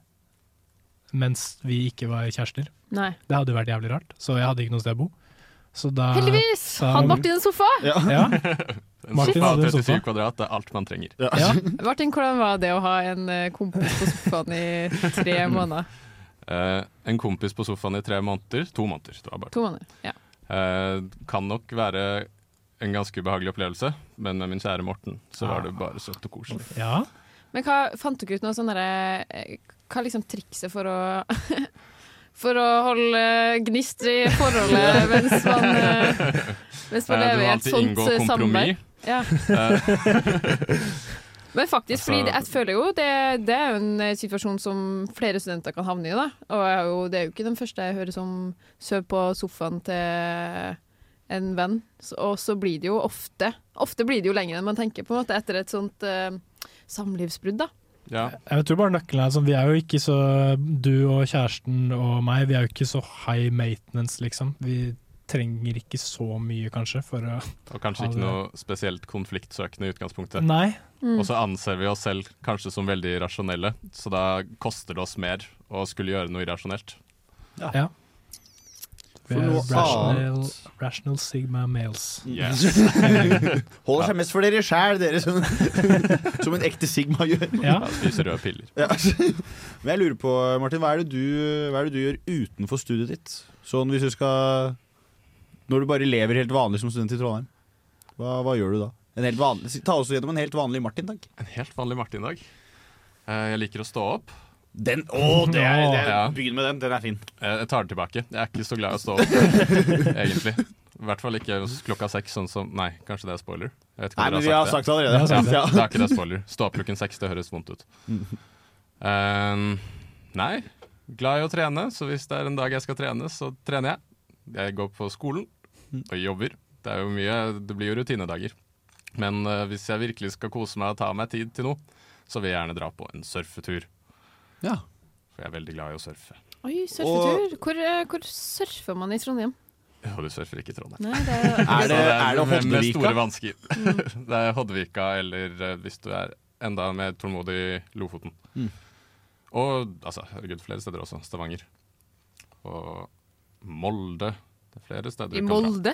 C: mens vi ikke var kjærester.
B: Nei.
C: Det hadde jo vært jævlig rart, så jeg hadde ikke noe sted å bo. Så da,
B: Heldigvis!
C: da-
B: Hadde Martin en sofa?
C: Ja.
G: En
C: Martin
G: sofa av
C: hadde en
G: 37
C: sofa.
G: kvadrat det er alt man trenger.
C: Ja.
B: Martin, hvordan var det å ha en eh, kompis på sofaen i tre måneder?
G: Eh, en kompis på sofaen i tre måneder, to måneder, det var bare
B: To måneder. Ja.
G: Eh, kan nok være en ganske ubehagelig opplevelse, men med min kjære Morten så var det bare søtt og koselig.
C: Ja.
B: Men hva fant dere ut noe sånn derre eh, Hva er liksom trikset for å For å holde eh, gnist i forholdet mens man, eh, mens man
G: Eh, du
B: lever i
G: må
B: et
G: alltid
B: sånt
G: inngå
B: eh,
G: kompromiss.
B: samarbeid? Ja. Men faktisk, fordi
G: Altså-
B: det- jeg føler jo det, det er jo en eh, situasjon som flere studenter kan havne i. da. Og jeg er jo, det er jo ikke den første jeg hører som sover på sofaen til en venn. Så- Og så blir det jo ofte Ofte blir det jo lenger enn man tenker, på en måte, etter et sånt eh, samlivsbrudd. da.
G: Ja.
C: Jeg tror bare nøkkelen er sånn, vi er jo ikke så Du og kjæresten og meg, vi er jo ikke så high maintenance, liksom. Vi trenger ikke så mye, kanskje, for å
G: Og kanskje
C: ha
G: ikke
C: det.
G: noe spesielt konfliktsøkende i utgangspunktet.
C: Nei. Mm.
G: Og så anser vi oss selv kanskje som veldig rasjonelle, så da koster det oss mer å skulle gjøre noe irrasjonelt.
C: Ja.
D: For noe
C: rational, rational Sigma males.
D: Yes. Holder seg mest for dere sjæl, dere som, som en ekte Sigma gjør.
C: Ja.
G: Ja, spiser røde piller.
D: Ja. Men jeg lurer på, Martin, hva er, det du, hva er det du gjør utenfor studiet ditt? Sånn hvis du skal Når du bare lever helt vanlig som student i Trondheim, hva, hva gjør du da? En helt vanlig, ta oss gjennom en helt vanlig Martin-dag.
G: En helt vanlig Martin-dag. Eh, Jeg liker å stå opp.
D: Den, å, det er- det er-
G: Begynn med den, den er fin. Eh, Jeg tar det tilbake. Jeg er ikke så glad i å stå opp, egentlig. I hvert fall ikke klokka seks, sånn som Nei, kanskje det er spoiler? Jeg vet ikke om
D: Nei, men
G: dere
D: vi har sagt det allerede. Vi har sagt det.
G: Ja, det er ikke det spoiler. Stå opp klokken seks, det høres vondt ut. Ehm, nei. Glad i å trene, så hvis det er en dag jeg skal trene, så trener jeg. Jeg går på skolen og jobber. Det er jo mye Det blir jo rutinedager. Men eh, hvis jeg virkelig skal kose meg og ta meg tid til noe, så vil jeg gjerne dra på en surfetur.
D: Ja.
G: For jeg er veldig glad i å surfe.
B: Oi, surfetur. Hvor, eh, hvor surfer man i Trondheim?
G: Og du surfer ikke i Trondheim.
B: Nei, det er- Er
G: Så
B: det-
D: er det Mm.
G: med- Med
D: Hodvika?
G: store vansker. det er Hodvika, eller eh, hvis du er enda mer tålmodig, Lofoten.
D: Mm.
G: Og altså, herregud, flere steder også. Stavanger. Og Molde. Det er flere steder.
B: I
G: du kan dra.
B: Molde?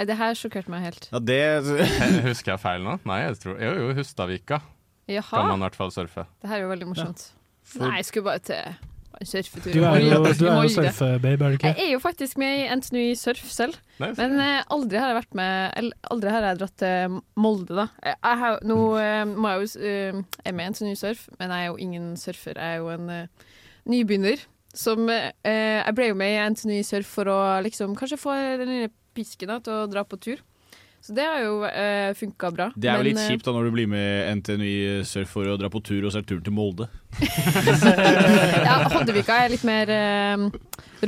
B: Nei, det her sjokkerte meg helt.
D: Ja, det
G: Husker jeg feil nå? Nei, jeg tror Jo, jo, Hustadvika kan man i
B: Jaha.
G: hvert fall surfe.
B: Det her er jo veldig morsomt.
G: For-
B: Nei, jeg skulle bare til en surfetur. i
C: Du er jo,
B: Molde.
C: du
B: I
C: er jo
B: Molde.
C: surfebabe, er du
B: Jeg
C: ikke?
B: er jo faktisk med i NTNU i surf selv,
C: Nei, så-
B: men eh, aldri har jeg vært med eller, Aldri har jeg dratt til Molde, da. Jeg, jeg, har- nå eh, må jeg jo s- eh, Jeg er med i NTNU surf, men jeg er jo ingen surfer. Jeg er jo en eh, nybegynner. Som eh, Jeg ble jo med i NTNU surf for å liksom kanskje få den lille pisken da, til å dra på tur. Så det har jo eh, funka bra.
D: Det er jo
B: Men,
D: litt
B: eh,
D: kjipt da når du blir med NTNU i surf for å dra på tur, og så er turen til Molde.
B: ja, Hoddevika er litt mer eh,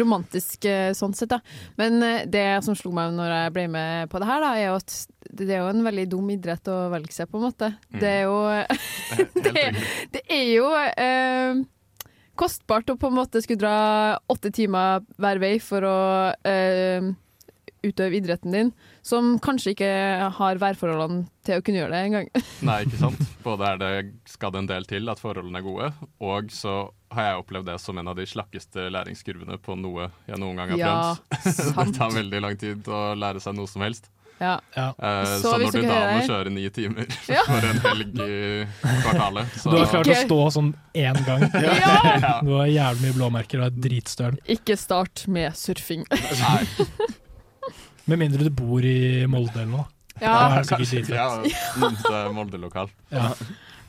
B: romantisk eh, sånn sett, da. Men eh, det som slo meg når jeg ble med på det her, da, er jo at det er jo en veldig dum idrett å velge seg, på en måte.
M: Mm.
B: Det er jo det, det er jo eh, kostbart å på en måte skulle dra åtte timer hver vei for å eh, utøve idretten din, som kanskje ikke har værforholdene til å kunne gjøre det engang.
G: Nei, ikke sant. Både er det skal det en del til at forholdene er gode, og så har jeg opplevd det som en av de slakkeste læringskurvene på noe jeg noen gang har
B: Ja,
G: prøvd.
B: sant.
G: det tar veldig lang tid å lære seg noe som helst.
B: Ja.
G: Eh,
B: Så
G: så,
B: hvis
G: når
B: dere
G: du da må
B: hører-
G: kjøre ni timer
B: Ja.
G: for en helg i kvartalet så
C: Du har klart å
B: Ok.
C: stå sånn én gang.
B: Ja.
C: Du har jævlig mye blåmerker og er dritstøl.
B: Ikke start med surfing.
C: Med mindre du bor i Molde eller noe.
B: Ja.
C: Da er det sikkert dritfett.
G: Ja, mm, det er Molde-lokal.
C: Ja.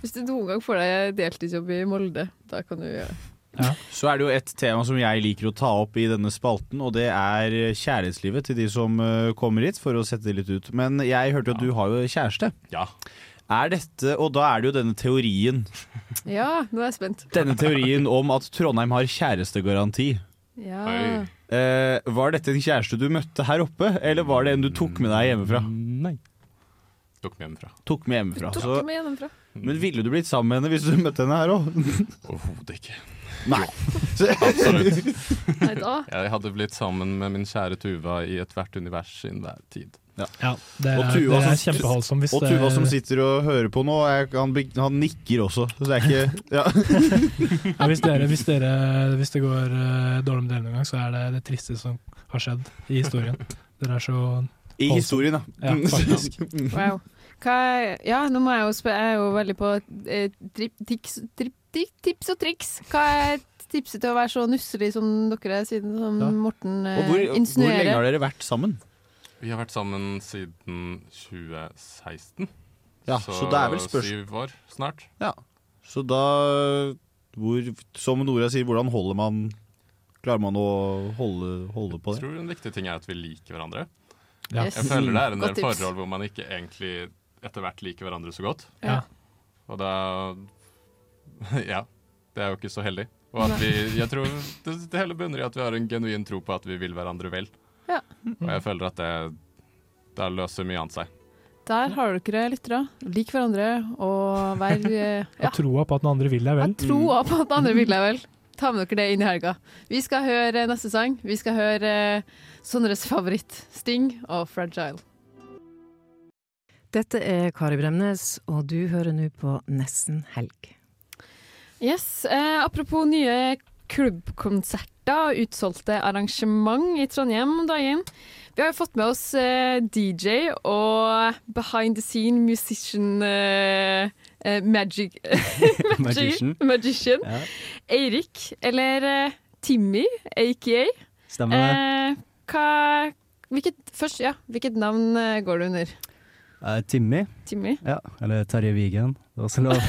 B: Hvis du noen gang får deg deltidsjobb i Molde, da kan du gjøre det.
D: Så er det jo et tema som jeg liker å ta opp i denne spalten, og det er kjærlighetslivet til de som eh, kommer hit, for å sette det litt ut. Men jeg hørte jo at du har jo kjæreste.
G: Ja.
D: Er dette, og da er det jo denne teorien,
B: Ja, nå er jeg spent.
D: denne teorien om at Trondheim har kjærestegaranti.
B: Ja.
D: Eh, var dette en kjæreste du møtte her oppe, eller var det en du tok med deg hjemmefra?
G: Mm.
E: Nei.
G: Tok med hjemmefra.
D: Tok med hjemmefra.
B: Tok
D: Så,
B: du med gjennomfra?
D: men ville du blitt sammen med henne hvis du møtte henne her òg?
G: Overhodet ikke.
D: Nei.
G: Absolutt.
B: Nei, da.
G: Jeg hadde blitt sammen med min kjære Tuva i ethvert univers i enhver tid.
C: Ja, det er,
D: Og Tuva
C: det er
D: som-
C: kjempeholdsom hvis
D: Og
C: det-
D: Tuva som sitter og hører på nå, er, han, be- han nikker også, så det er ikke ja.
C: ja, hvis, dere, hvis, dere, hvis det går eh, dårlig med dere noen gang, så er det det tristeste som har skjedd i historien. Dere er så
D: I
C: holdsom.
D: historien, da.
C: Ja, faktisk.
B: Wow. Hva er, ja, nå må jeg jo spørre, jeg er jo veldig på eh, drip, tiks, drip, ti- tips og triks. Hva er tipset til å være så nusselig som dere er, siden som
D: Ja.
B: Morten eh,
D: Og hvor, hvor
B: insinuerer?
D: lenge har dere vært sammen?
G: Vi har vært sammen siden 2016.
D: Ja, så det er vel spørs-
G: syv år snart.
D: Ja. Så da hvor, Som Nora sier, hvordan holder man Klarer man å holde, holde på
G: Jeg
D: det?
G: tror en viktig ting er at vi liker hverandre.
D: Ja.
G: Jeg føler det er en
D: Godt
G: del
D: tips.
G: forhold hvor man ikke egentlig etter hvert liker hverandre så godt.
D: Ja.
G: Og da Ja. Det er jo ikke så heldig. Og at
B: Nei.
G: vi Jeg tror det, det hele bunner i at vi har en genuin tro på at vi vil hverandre vel.
B: Ja.
G: Og jeg føler at det da løser mye annet seg.
B: Der har dere lyttere. Lik hverandre og vær eh,
C: Og troa på at den andre vil deg vel.
B: Mm. troa på at andre vil deg vel. Ta med dere det inn i helga. Vi skal høre neste sang. Vi skal høre eh, Sondres favoritt, Sting og Fragile.
P: Dette er Kari Bremnes, og du hører nå på Nesten helg.
B: Yes, eh, Apropos nye klubbkonserter og utsolgte arrangement i Trondheim om dagen. Vi har jo fått med oss eh, DJ og behind the scene musician eh, eh, magic,
J: Magician.
B: magician.
J: Ja.
B: Eirik, eller eh, Timmy, aka.
J: Stemmer det.
B: Eh, hva, hvilket, først, ja, hvilket navn eh, går du under?
J: Eh, Timmy.
B: Timmy?
J: Ja, eller Terje Vigen. Det er også lov.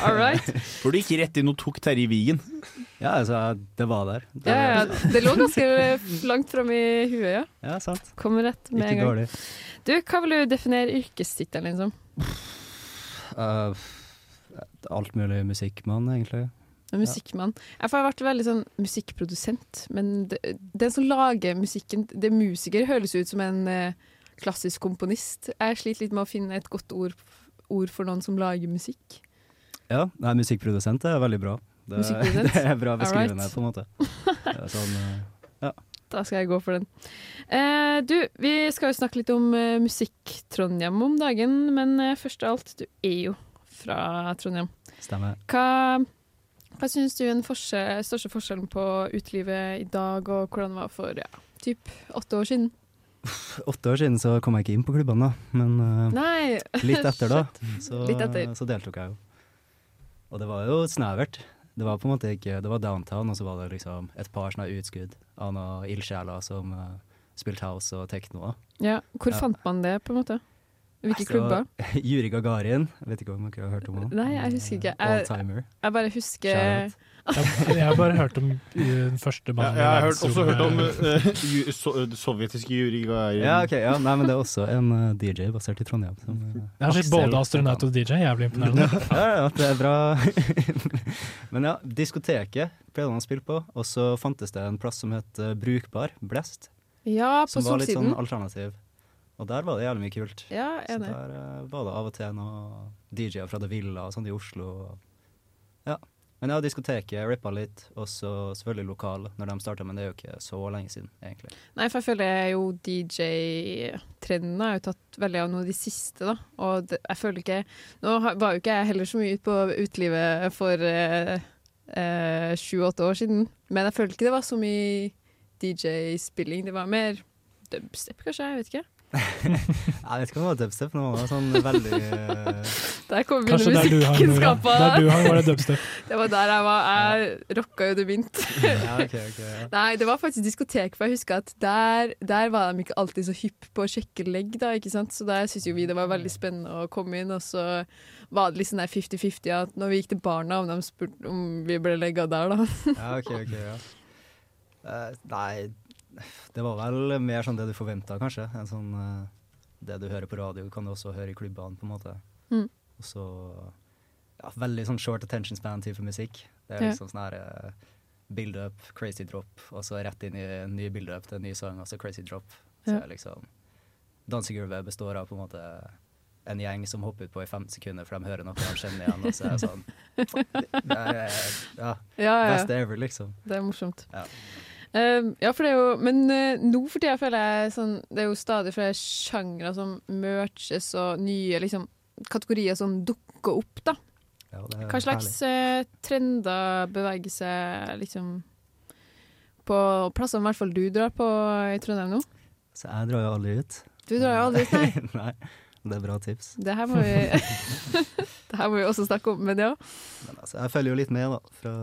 B: All right.
J: For du gikk rett inn og tok Terje Vigen? Ja, altså, det var der. Det,
B: Ja, ja, det lå ganske langt fram i huet, ja.
J: Ja, sant.
B: Kom rett med
J: Ikke
B: en gang.
J: dårlig.
B: Du, hva vil du definere yrkestittelen din som?
J: Eh, alt mulig musikkmann, egentlig.
B: En Musikkmann. Jeg har vært veldig sånn musikkprodusent, men det, den som lager musikken, det er musiker, høres ut som en eh, klassisk komponist. Jeg sliter litt med å finne et godt ord, ord for noen som lager musikk.
J: Ja, nei, musikkprodusent er veldig bra. Det,
B: Musikkprodusent?
J: det er bra beskrivende,
B: Alright.
J: på en måte. Det er Sånn, eh,
B: Da skal jeg gå for den. Eh, du, vi skal jo snakke litt om eh, musikk-Trondheim om dagen, men eh, først av alt, du er jo fra Trondheim.
J: stemmer.
B: Hva, hva syns du er den forskjell, største forskjellen på utelivet i dag og hvordan det var for ja, typ åtte år siden?
J: Åtte år siden så kom jeg ikke inn på klubbene, da. Men eh,
B: Nei,
J: litt etter, da.
B: shit.
J: Så,
B: Litt etter.
J: så deltok jeg jo. Og det var jo snevert. Det var på en måte ikke Det var downtown, og så var det liksom et par sånne utskudd av noen ildsjeler som eh, spilte house og techno. da.
B: Ja, hvor
J: Ja.
B: fant man det, på en måte? Hvilke
J: Så-
B: klubber?
J: Yuri Gagarin. Jeg vet ikke om dere har hørt om Eh, ham.
B: Nei, jeg husker ikke.
J: Oldtimer.
B: Jeg, jeg bare husker
C: Jeg, jeg har bare hørt om i den første
D: Ja,
C: mannen
D: jeg har
C: i
D: hørt,
C: verdensrommet.
D: også hørt om eh, ju, so, sovjetiske Mm. Yuri Gagarin.
J: Ja, ok. Ja. Nei, men det er også en eh, DJ basert i Trondheim. Som, eh,
C: Jeg har sett både
J: Aksel-
C: astronaut og DJ. Jævlig
J: ja,
C: imponerende.
J: ja, det er bra. Men ja, diskoteket pleide han å spille på, og så fantes det en plass som het eh, Brukbar Blest.
B: Ja, på
J: som var litt
B: Solsiden.
J: sånn alternativ. Og der var det jævlig mye kult.
B: Ja,
J: så
B: enig.
J: der eh, var det av og til noen DJ-er fra The Villa og sånn i Oslo. Ja. Men ja, diskoteket rippa litt, og så selvfølgelig lokal når de starta, men det er jo ikke så lenge siden, egentlig.
B: Nei, for jeg føler jo DJ-trenden har jo tatt veldig av noe de siste, da. Og det, jeg føler ikke Nå har- var jo ikke jeg heller så mye ute på utelivet for eh, sju-åtte år siden, men jeg føler ikke det var så mye DJ-spilling. Det var mer dubstep, kanskje? Jeg vet ikke.
J: Jeg vet ikke om det var dubstep, men det var sånn veldig
B: Der kom
C: Kanskje der du hang, Nora.
B: musikkkunnskapen.
C: Der du hang var det dubstep.
B: Det var der jeg var. Jeg rocka jo det mynt.
J: Ja, ok, ok, ja.
B: Nei, det var faktisk diskotek, for jeg husker at der, der var de ikke alltid så hypp på å sjekke legg, da, ikke sant? så der syntes jo vi det var veldig spennende å komme inn, og så var det litt sånn der 50-50 at når vi gikk til barna, om de spurte om vi ble legga der, da.
J: Ja, ok, ok, ja. Eh, nei, det var vel mer sånn det du forventa, kanskje. En sånn, eh, det du hører på radio, kan du også høre i klubbene, på en måte.
B: Mm.
J: Og så ja, veldig sånn short attention span-type musikk. Det er
B: Ja.
J: liksom sånn her eh, build-up, crazy drop, og så rett inn i en ny build-up til en ny sang, og så crazy drop. Så
B: Ja.
J: er liksom Dansegulvet består av på en måte en gjeng som hopper utpå i 15 sekunder, for de hører noe de kjenner igjen, og så er det sånn det er, ja,
B: Ja, ja.
J: Best ever, liksom.
B: Det er morsomt.
J: Ja.
B: Eh, ja, for det er jo Men eh, nå for tida føler jeg sånn Det er jo stadig flere sjangre som merges, og nye liksom kategorier som dukker opp, da.
J: Ja, det er
B: Hva slags eh, trender beveger seg liksom på plassene i hvert fall du drar på i Trondheim nå?
J: Så jeg drar jo aldri ut.
B: Du drar jo aldri ut, nei.
J: nei. Det er bra tips.
B: Det her må vi Det her må vi også snakke om, men ja.
J: Men altså, jeg følger jo litt med, da. Fra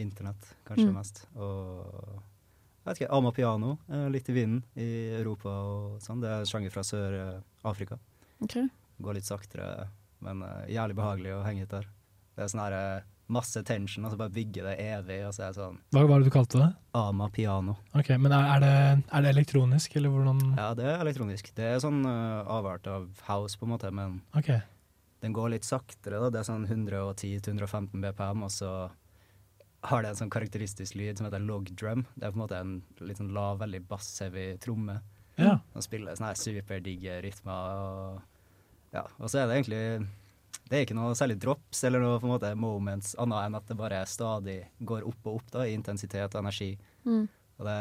J: internett, kanskje
B: Mm.
J: mest. Og jeg vet ikke, Ama Piano er litt i vinden i Europa og sånn. Det er en sjanger fra Sør-Afrika.
B: Ok.
J: Går litt saktere, men eh, jævlig behagelig å henge ut der. Det er sånn her eh, masse tension, og så bare bygger det evig, og så er det sånn
C: Hva var det du kalte det?
J: Ama Piano.
C: Ok, men er, er, det, er det elektronisk, eller hvordan
J: Ja, det er elektronisk. Det er sånn eh, avart av house, på en måte, men
C: Ok.
J: den går litt saktere. Da. Det er sånn 110-115 BPM, og så har det en sånn karakteristisk lyd som heter log drum. Det er på en måte en litt sånn lav, veldig bass-heavy tromme.
C: Ja.
J: Den spiller sånne her superdigge rytmer. Og, ja. og så er det egentlig Det er ikke noe særlig drops eller noe på en måte moments, annet enn at det bare stadig går opp og opp da, i intensitet og energi.
B: Mm.
J: Og det,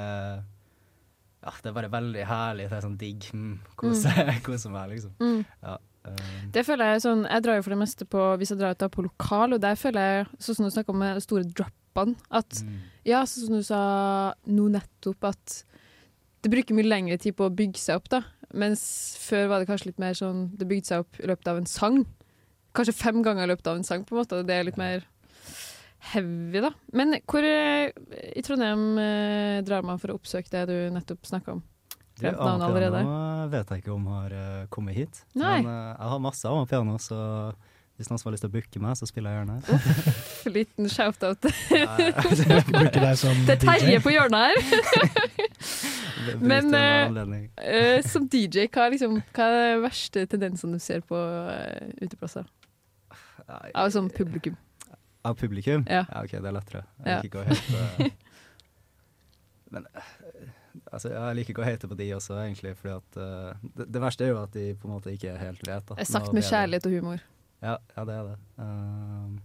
J: ja, det er bare veldig herlig. Det er sånn digg. Mm, Kose
B: Mm.
J: kose meg, liksom.
B: Mm.
J: Ja, um,
B: Det føler Jeg sånn, jeg drar jo for det meste på hvis jeg drar ut da på lokal, og der føler jeg, sånn som du snakka om med store droppene, at ja, sånn som du sa nå nettopp, at det bruker mye lengre tid på å bygge seg opp, da. Mens før var det kanskje litt mer sånn det bygde seg opp i løpet av en sang. Kanskje fem ganger i løpet av en sang, på en måte. og Det er litt mer heavy, da. Men hvor eh, i Trondheim eh, drar man for å oppsøke det du nettopp snakka om?
J: du,
B: Glemt navnet
J: Amapiano
B: allerede.
J: vet jeg ikke om har eh, kommet hit.
B: Nei.
J: Men eh, jeg har masse amapiano, så hvis noen som har lyst til å booke meg, så spiller jeg gjerne.
B: Liten shout-out.
J: Bruke deg som
B: Det er Terje
J: DJ.
B: på hjørnet her.
J: Bruk
B: Men
J: det med
B: eh,
J: anledning.
B: eh, som DJ, hva er, liksom, hva er de verste tendensene du ser på eh, uteplasser? Av sånn publikum.
J: Av publikum?
B: Ja.
J: OK, det er lettere. Jeg
B: Ja.
J: liker ikke å hate eh, Men eh, altså, jeg liker ikke å hate på de også, egentlig, fordi at eh, det, det verste er jo at de på en måte ikke helt vet. Da,
B: Det er sagt
J: Nå
B: med
J: ble det-
B: kjærlighet og humor.
J: Ja, ja det er det. Ehm,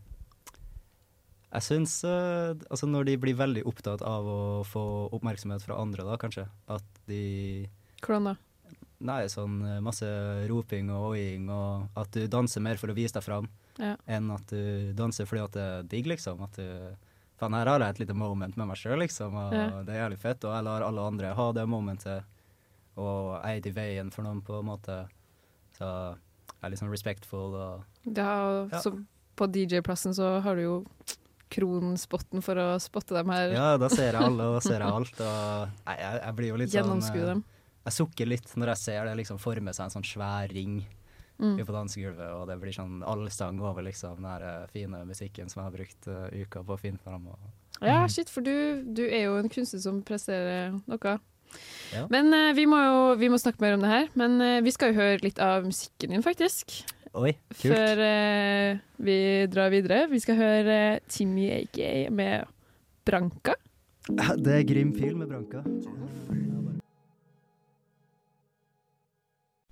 J: jeg syns eh, Altså, når de blir veldig opptatt av å få oppmerksomhet fra andre, da, kanskje, at de
B: Hvordan da?
J: Nei, sånn eh, masse roping og oiing, og at du danser mer for å vise deg fram
B: Ja.
J: enn at du danser fordi at det er digg, liksom. At du Faen, her har jeg et lite moment med meg sjøl, liksom, og
B: Ja.
J: det er jævlig fett. Og jeg lar alle andre ha det momentet, og jeg er ikke i veien for noen, på en måte. Så jeg er litt sånn respectful og
B: Det har,
J: Ja.
B: så på DJ-plassen så har du jo kronspotten for å spotte dem her.
J: Ja, da ser jeg alle, og da ser jeg alt. Og Nei, jeg, jeg blir jo litt sånn
B: Gjennomskue
J: eh,
B: dem.
J: Jeg sukker litt når jeg ser det liksom forme seg en sånn svær ring
B: Mm.
J: ute på dansegulvet, og det blir sånn allsang over liksom den her eh, fine musikken som jeg har brukt eh, uka på å finne fram. Og,
B: Ja, shit, for du, du er jo en kunstner som presterer noe.
J: Ja.
B: Men eh, vi må jo vi må snakke mer om det her. Men eh, vi skal jo høre litt av musikken din, faktisk.
J: Oi, kult.
B: Før eh, vi drar videre. Vi skal høre eh, Timmy AKA med Branka.
J: Det er Grim Pil med Branka.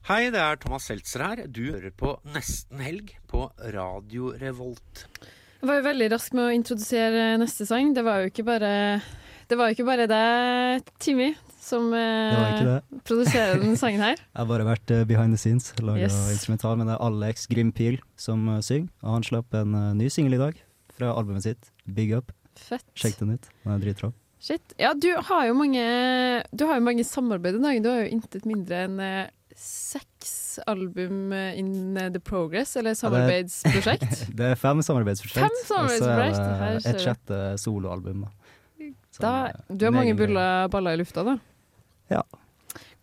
L: Hei, det er Thomas Seltzer her. Du hører på Nesten Helg på Radio Revolt.
B: Jeg var jo veldig rask med å introdusere eh, neste sang. Det var jo ikke bare Det var jo ikke bare deg, Timmy, som eh,
J: Det var ikke
B: produserer den sangen her.
J: Jeg har bare vært eh, behind the scenes, laga
B: Yes.
J: instrumental, men det er Alex Grim Pil som eh, synger. Og han slapp en eh, ny singel i dag fra albumet sitt, Big Up.
B: Fett.
J: Sjekk den ut, den er dritbra.
B: Shit. Ja, du har jo mange, du har jo mange samarbeid i dag. Du har jo intet mindre enn eh, seks album eh, in the progress, eller
J: Ja, det-
B: samarbeidsprosjekt.
J: Det er fem samarbeidsprosjekt,
B: Fem samarbeidsprosjekt, her
J: og så er det
B: ser
J: et
B: vi.
J: sjette soloalbum. Da.
B: Da, du har
J: en
B: mange
J: egen
B: buller, baller i lufta, da.
J: Ja.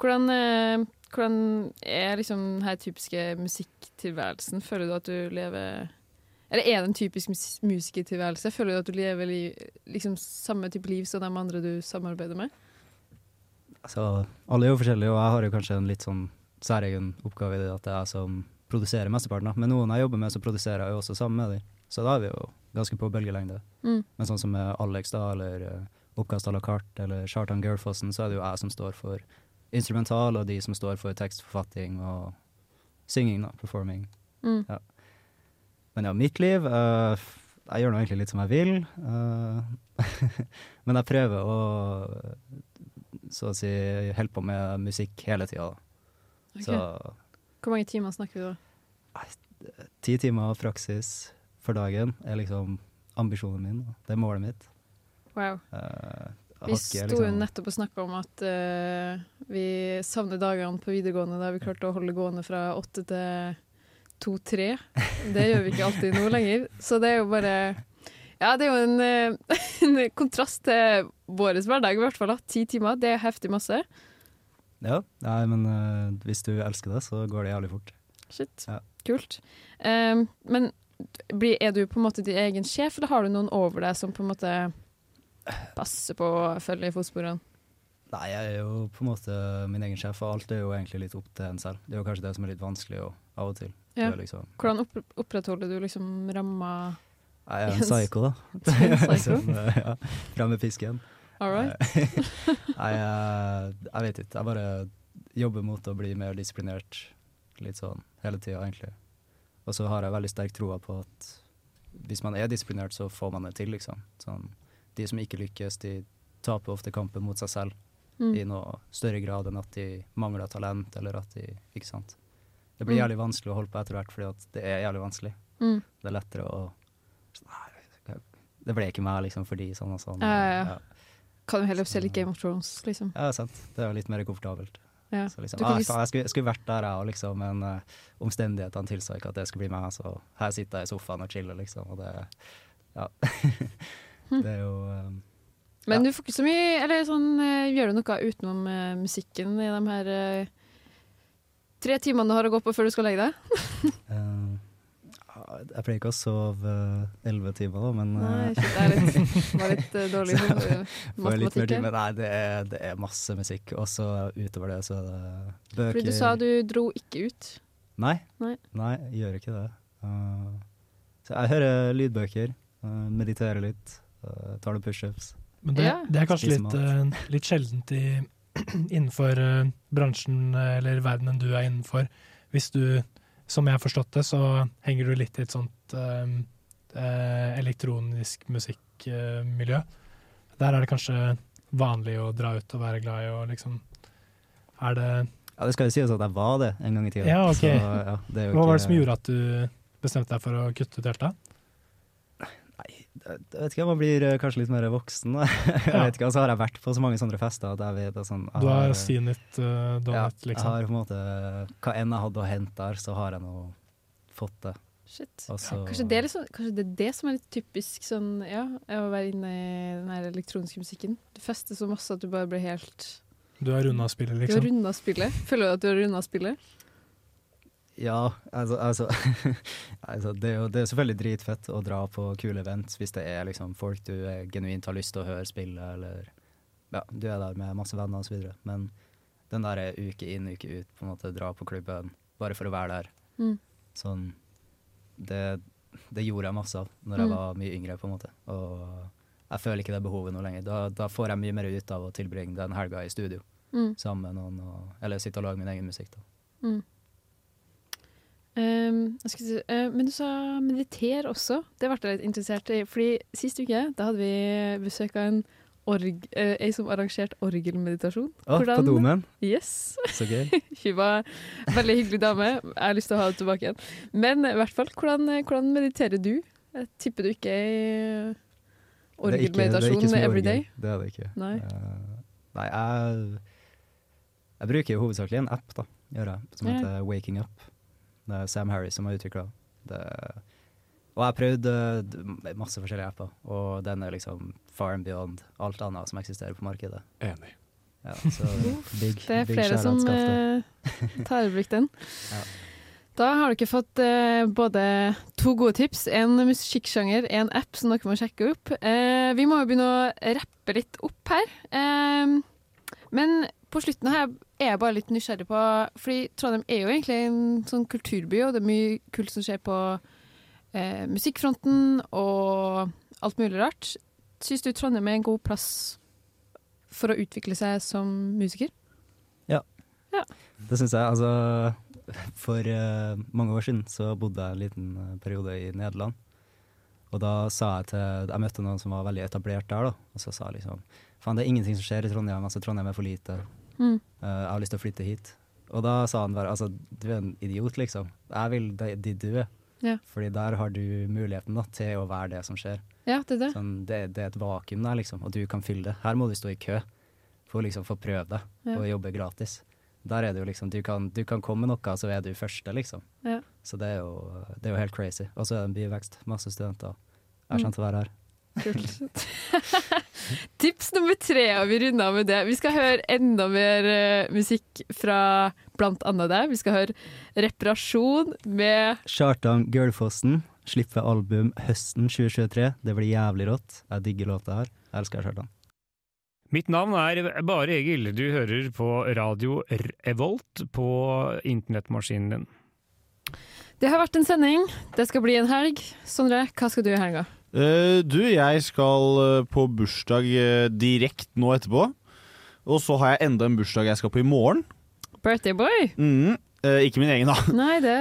B: Hvordan, eh, hvordan er liksom den her typiske musikktilværelsen? Føler du at du lever Eller er det en typisk mus musikertilværelse? Føler du at du lever li liksom samme type liv som de andre du samarbeider med?
J: Altså, alle er jo forskjellige, og jeg har jo kanskje en litt sånn særegen oppgave i det at det er jeg som produserer mesteparten. Da. Men noen jeg jobber med, så produserer jeg jo også sammen med dem. Så da er vi jo ganske på bølgelengde.
B: Mm.
J: Men sånn som med Alex, da, eller eh, Oppkast à la carte, eller Chartan Girlfossen, så er det jo jeg som står for instrumental, og de som står for tekstforfatting og synging, da, performing.
B: Mm.
J: Ja. Men ja, mitt liv eh, f- Jeg gjør nå egentlig litt som jeg vil. eh, men jeg prøver å så å si holde på med musikk hele tida.
B: Ok.
J: Så
B: Hvor mange timer snakker vi da?
J: ti timer praksis for dagen er liksom ambisjonen min. da. Det er målet mitt.
B: Wow.
J: Eh,
B: Vi
J: jeg har ikke,
B: sto jo nettopp og snakka om at eh, vi savner dagene på videregående der vi klarte å holde gående fra åtte til to-tre. Det gjør vi ikke alltid nå lenger. Så det er jo bare Ja, det er jo en, eh, en kontrast til vår hverdag, i hvert fall. da. Ti timer, det er heftig masse.
J: Ja, nei, men eh, hvis du elsker det, så går det jævlig fort.
B: Shit.
J: Ja.
B: Kult. Eh, men blir, er du på en måte din egen sjef, eller har du noen over deg som på en måte passer på å følge i fotsporene?
J: Nei, jeg er jo på en måte min egen sjef, og alt er jo egentlig litt opp til en selv. Det er jo kanskje det som er litt vanskelig og, av og til. Du
B: Ja.
J: er liksom,
B: Hvordan opp opprettholder du liksom ramma
J: jeg er
B: Jens.
J: en psyko, da.
B: Du er en psyko?
J: Som, eh, ja, Fram med Eh, pisken.
B: All right.
J: Nei, jeg, jeg vet ikke. Jeg bare jobber mot å bli mer disiplinert litt sånn hele tida, egentlig.
Q: Og så har jeg veldig sterk troa på at hvis man er disiplinert, så får man det til, liksom. Sånn, de som ikke lykkes, de taper ofte kampen mot seg selv
R: Mm.
Q: i noe større grad enn at de mangler talent, eller at de Ikke sant. Det blir
R: Mm.
Q: jævlig vanskelig å holde på etter hvert, fordi at det er jævlig vanskelig.
B: Mm.
Q: Det er lettere å Nei, det ble ikke meg, liksom, fordi sånn og sånn.
B: Ja, ja, ja. Kan jo heller se litt Game of Thrones, liksom.
Q: Ja, sant. Det er jo litt mer komfortabelt.
B: Ja.
Q: Så liksom,
B: Du kan
Q: ah,
B: ikke s-
Q: faen, jeg, skulle, jeg skulle vært der, jeg òg, liksom, men eh, omstendighetene tilsa ikke at det skulle bli meg. Så her sitter jeg i sofaen og chiller, liksom. Og det, ja. det er jo eh,
B: Hm. Men du får ikke så mye Eller sånn, eh, gjør du noe utenom eh, musikken i de her eh, tre timene du har å gå på før du skal legge deg?
Q: eh, Jeg pleier ikke å sove elleve timer, da, men
B: Nei,
Q: eh,
B: shit, det er litt- var litt, eh, dårlig
Q: så-
B: på,
Q: får
B: eh,
Q: jeg litt mer
B: matematikk
Q: tid,
B: her.
Q: Men nei, det er, det er masse musikk. Og så utover det, så er det bøker
B: Fordi du sa du dro ikke ut.
Q: Nei.
B: Nei.
Q: Nei, jeg gjør ikke det. Uh, så jeg hører lydbøker, uh, mediterer litt, uh, tar noen pushups.
C: Men det, det er kanskje
Q: Spiser
C: litt,
Q: mat.
C: eh, litt sjeldent i, innenfor eh, bransjen eh, eller verdenen du er innenfor. Hvis du, som jeg har forstått det, så henger du litt i et sånt eh, eh, elektronisk musikkmiljø. Der er det kanskje vanlig å dra ut og være glad i å liksom Er det
Q: Ja, det skal jo sies at jeg var det en gang i tida.
C: Ja, OK.
Q: Så, ja, det er jo
C: Hva var det
Q: ikke-
C: som gjorde at du bestemte deg for å kutte ut helt da?
Q: Jeg vet ikke, Man blir eh, kanskje litt mer voksen. Da. Jeg
C: Ja.
Q: vet ikke, Og så har jeg vært på så mange sånne fester at jeg vet at sånn jeg
C: Du har
Q: eh,
C: seen it, eh, done it, liksom.
Q: Jeg har på en måte Hva enn jeg hadde å hente der, så har jeg nå fått det.
B: Shit.
Q: Og så-
B: Kanskje, det er liksom, kanskje det er det som er litt typisk sånn, ja, å være inne i den her elektroniske musikken. Du fester så masse at du bare blir helt
C: Du har runda spillet,
B: Du har
C: liksom?
B: runda spillet. Føler du at du har runda spillet?
Q: Ja, altså, altså, altså det, er jo, det er selvfølgelig dritfett å dra på kule events hvis det er liksom folk du eh, genuint har lyst til å høre spille, eller ja, du er der med masse venner osv. Men den der er uke inn, uke ut, på en måte dra på klubben bare for å være der,
B: Mm.
Q: sånn det, det gjorde jeg masse av når
B: Mm.
Q: jeg var mye yngre, på en måte. Og jeg føler ikke det behovet nå lenger. Da, da får jeg mye mer ut av å tilbringe den helga i studio
B: Mm.
Q: sammen med noen, og, eller sitte og lage min egen musikk, da.
B: Mm. Ehm, jeg skulle si, eh, men du sa mediter også. Det ble jeg litt interessert i. Fordi Sist uke da hadde vi besøk av en org, eh, ei som arrangerte orgelmeditasjon.
Q: Å, på Domen?
B: Yes.
Q: Så gøy.
B: Hun var en veldig hyggelig dame. Jeg har lyst til å ha henne tilbake igjen. Men i hvert fall, hvordan, hvordan mediterer du? Jeg tipper du ikke er
Q: Det er
B: i
Q: ikke- det er ikke
B: orgelmeditasjon
Q: så mye
B: every
Q: orgel.
B: day?
Q: Det er det ikke.
B: Nei.
Q: Eh, nei, jeg, jeg bruker jo hovedsakelig en app, da, gjør jeg, som
R: Ja.
Q: heter Waking Up. Det er Sam Harris som har utvikla det. Og jeg har prøvd eh, d- masse forskjellige apper, og den er liksom far and beyond alt annet som eksisterer på markedet.
G: Enig.
Q: Ja, så big,
B: Det er
Q: big
B: flere
Q: shout-out,
B: som
Q: skaff det.
B: eh, tar i bruk den.
Q: Ja.
B: Da har dere fått eh, både to gode tips, en musikksjanger, en app som dere må sjekke opp. Eh, vi må jo begynne å rappe litt opp her. Eh, men på slutten her er jeg bare litt nysgjerrig på Fordi Trondheim er jo egentlig en sånn kulturby, og det er mye kult som skjer på eh, musikkfronten og alt mulig rart. Syns du Trondheim er en god plass for å utvikle seg som musiker?
Q: Ja.
B: Ja.
Q: Det syns jeg. Altså, for eh, mange år siden så bodde jeg en liten eh, periode i Nederland. Og da sa jeg til Jeg møtte noen som var veldig etablert der, da. Og så sa jeg liksom Faen, det er ingenting som skjer i Trondheim. Altså, Trondheim er for lite.
R: Mm.
Q: Eh, jeg har lyst til å flytte hit. Og da sa han bare Altså, du er en idiot, liksom. Jeg vil dit de du er.
B: Ja.
Q: Fordi der har du muligheten da, til å være det som skjer.
B: Ja, det er det.
Q: Sånn, det, det er et vakuum der, liksom, og du kan fylle det. Her må du stå i kø for å liksom få prøve det,
B: Ja.
Q: og jobbe gratis. Der er det jo liksom, du kan, du kan komme med noe, så er du første, liksom.
B: Ja.
Q: Så det er, jo, det er jo helt crazy. Og så er det en byvekst, masse studenter. Jeg er
B: Mm.
Q: kjent til å være her.
B: Kult. Tips nummer tre, og vi runder av med det. Vi skal høre enda mer eh, musikk fra blant annet deg. Vi skal høre reparasjon med
Q: Kjartan Gølfossen slipper album høsten 2023. Det blir jævlig rått. Jeg digger låta her. Jeg elsker Kjartan.
S: Mitt navn er Bare Egil. Du hører på radio Revolt på internettmaskinen din.
B: Det har vært en sending. Det skal bli en helg. Sondre, hva skal du i helga?
D: Eh, du, jeg skal eh, på bursdag eh, direkte nå etterpå. Og så har jeg enda en bursdag jeg skal på i morgen.
B: Birthday boy?
D: Mm. Eh, ikke min egen, da.
B: Nei, det-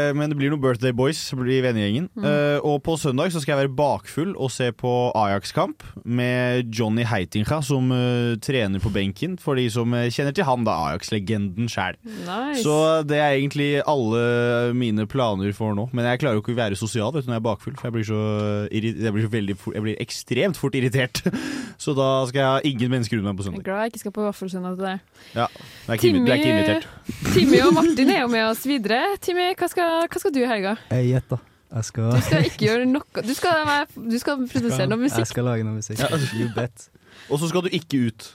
D: Eh, men det blir noen Birthday Boys blir vennegjengen.
B: Mm.
D: Eh, og på søndag så skal jeg være bakfull og se på Ajax-kamp med Johnny Heitinga, som eh, trener på benken, for de som eh, kjenner til han, da. Ajax-legenden sjæl. Eh,
B: Nice.
D: Så det er egentlig alle mine planer for nå. Men jeg klarer jo ikke å være sosial vet du, når jeg er bakfull, for jeg blir så, irri jeg blir så veldig fort, jeg blir ekstremt fort irritert. Så da skal jeg ha ingen mennesker rundt meg på
B: Jeg er
D: søndag.
B: glad jeg ikke skal på vaffelsøndag til deg.
D: Ja, det er ikke, invi- det er ikke
B: Timmy-
D: invitert.
B: Timmy og Martin er jo med oss videre. Timmy, hva skal, hva skal du i helga?
Q: Jeg gjett, da. Jeg skal,
B: Du skal ikke gjøre noe Du skal, være, du skal produsere noe
Q: Jeg
B: musikk.
Q: skal lage noe musikk. You bet.
D: Og så skal du ikke ut.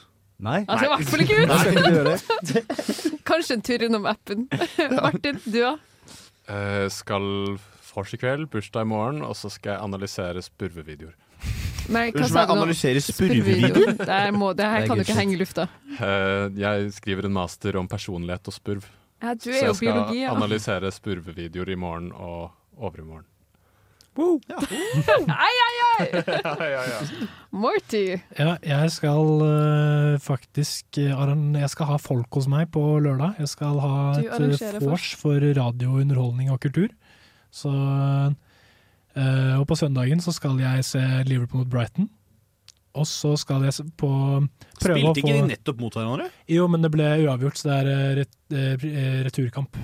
Q: Nei.
B: Han skal i hvert fall ikke ut.
Q: Jeg skal ikke gjøre det.
B: Kanskje en tur innom appen. Martin, du òg?
G: Eh, skal vors i kveld, bursdag i morgen, og så skal jeg analysere spurvevideoer.
D: Unnskyld meg, analysere spurvevideoer?
B: Det her, må, det her kan du ikke henge i lufta.
G: Eh, jeg skriver en master om personlighet og spurv.
B: Ja, du er jo
G: så jeg skal
B: biologi, ja.
G: analysere spurvevideoer i morgen og overmorgen.
B: Ai, ai,
G: ai!
B: Morty.
C: Ja, jeg skal øh, faktisk øh, arran- Jeg skal ha folk hos meg på lørdag. Jeg skal ha
B: Du
C: et
B: arrangerer
C: øh, vors for radio, underholdning og kultur. Så øh, Og på søndagen så skal jeg se Liverpool mot Brighton. Og så skal jeg se på prøve å
D: Spilte ikke
C: få
D: de nettopp mot hverandre?
C: Jo, men det ble uavgjort, så det er øh, ret, øh, pr- øh, returkamp.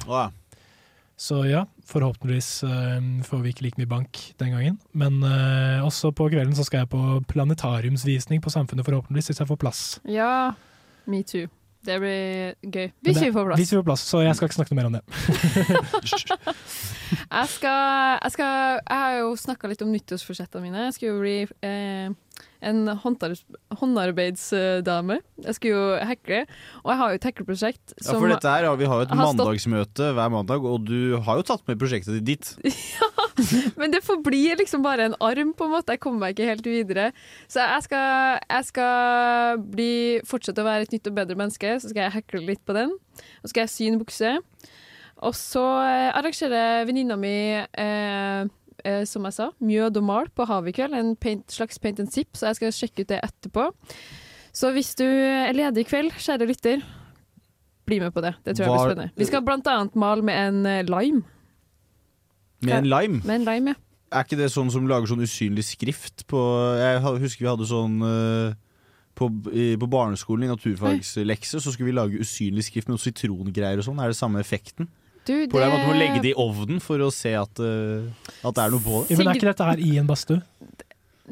C: Så ja, forhåpentligvis eh, får vi ikke like mye bank den gangen. Men eh, også på kvelden så skal jeg på planetariumsvisning på Samfunnet, forhåpentligvis, hvis jeg får plass.
B: Ja, me too. Det blir gøy.
C: Men
B: Hvis
C: det-
B: vi får
C: Hvis
B: plass.
C: vi får plass, Så jeg skal ikke snakke noe mer om det.
B: Jeg, skal, jeg, skal, jeg har jo snakka litt om nyttårsforsettene mine. Jeg skulle jo bli eh, en håndarbeid, håndarbeidsdame. Jeg skulle jo hekle, og jeg har jo et hekleprosjekt
D: Ja, for dette her, ja, Vi har jo et
B: har stått-
D: mandagsmøte hver mandag, og du har jo tatt med prosjektet ditt.
B: Men det forblir liksom bare en arm, på en måte. Jeg kommer meg ikke helt videre. Så jeg skal, jeg skal bli, fortsette å være et nytt og bedre menneske, så skal jeg hekle litt på den. Og så skal jeg sy en bukse. Og så eh, arrangerer venninna mi, eh, eh, som jeg sa, mjød og mal på havet i kveld. En paint, slags paint and sip, så jeg skal sjekke ut det etterpå. Så hvis du er ledig i kveld, kjære lytter, bli med på det. Det tror jeg blir
D: Var-
B: spennende. Vi skal blant annet male med en eh, lime.
D: Med en lime.
B: Med en lime, ja.
D: Er ikke det sånn som lager sånn usynlig skrift på Jeg ha- husker vi hadde sånn eh, på, i- på barneskolen i naturfagslekse så skulle vi lage usynlig skrift med noe sitrongreier og sånn. Er det samme effekten?
B: Du,
D: På det... at du må legge det i ovnen for å se at, eh, at det er noe på
C: Ja,
D: det.
C: men er ikke dette her i en badstue?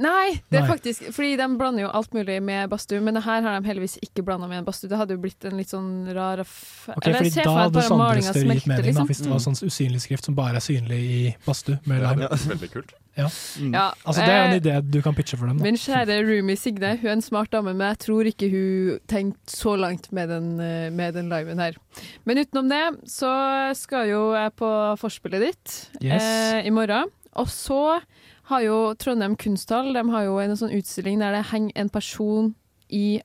B: Nei, det er
C: Nei.
B: faktisk Fordi de blander jo alt mulig med badstue, men det her har de heldigvis ikke blanda med en badstue. Det hadde jo blitt en litt sånn rar aff...
C: Ok, fordi Da hadde Sondre Støre gitt mening,
B: liksom.
C: da, hvis det var sånn usynlig skrift som bare er synlig i badstue. med
G: Det hadde
C: lime.
G: vært veldig kult.
C: Ja.
B: Ja,
C: Altså, det er en
B: eh,
C: idé du kan pitche for dem. Da.
B: Min kjære roomie Signe, hun er en smart dame, men jeg tror ikke hun tenkte så langt med den, eh, med den liven her. Men utenom det, så skal jo jeg på forspillet ditt
R: Yes.
B: eh, i morgen. Og så har jo Trondheim Kunsthall de har jo en sånn utstilling der det henger en person i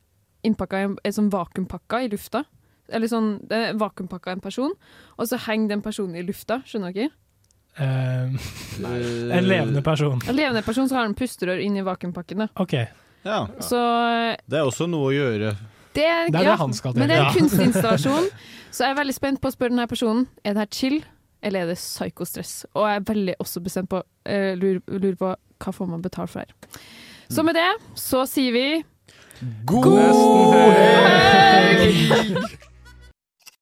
B: innpakka i en, en sånn vakuumpakka i lufta. Eller sånn, det er vakuumpakka en person, og så henger den personen i lufta, skjønner dere?
C: Eh, en levende person.
B: En levende person, så har den pusterør inn i vakuumpakken. da.
D: Ja.
B: Så
D: Det er også noe å gjøre.
B: det er,
D: Det er det
B: ja,
D: han skal til.
B: Men det er
D: Ja.
B: en kunstinstallasjon, så jeg er veldig spent på å spørre denne personen Er det her chill, eller er det psykostress. Og jeg er veldig også bestemt på eh, lurer, lurer på hva får man betalt for her. Så
D: Mm.
B: med det så sier vi
D: God helg!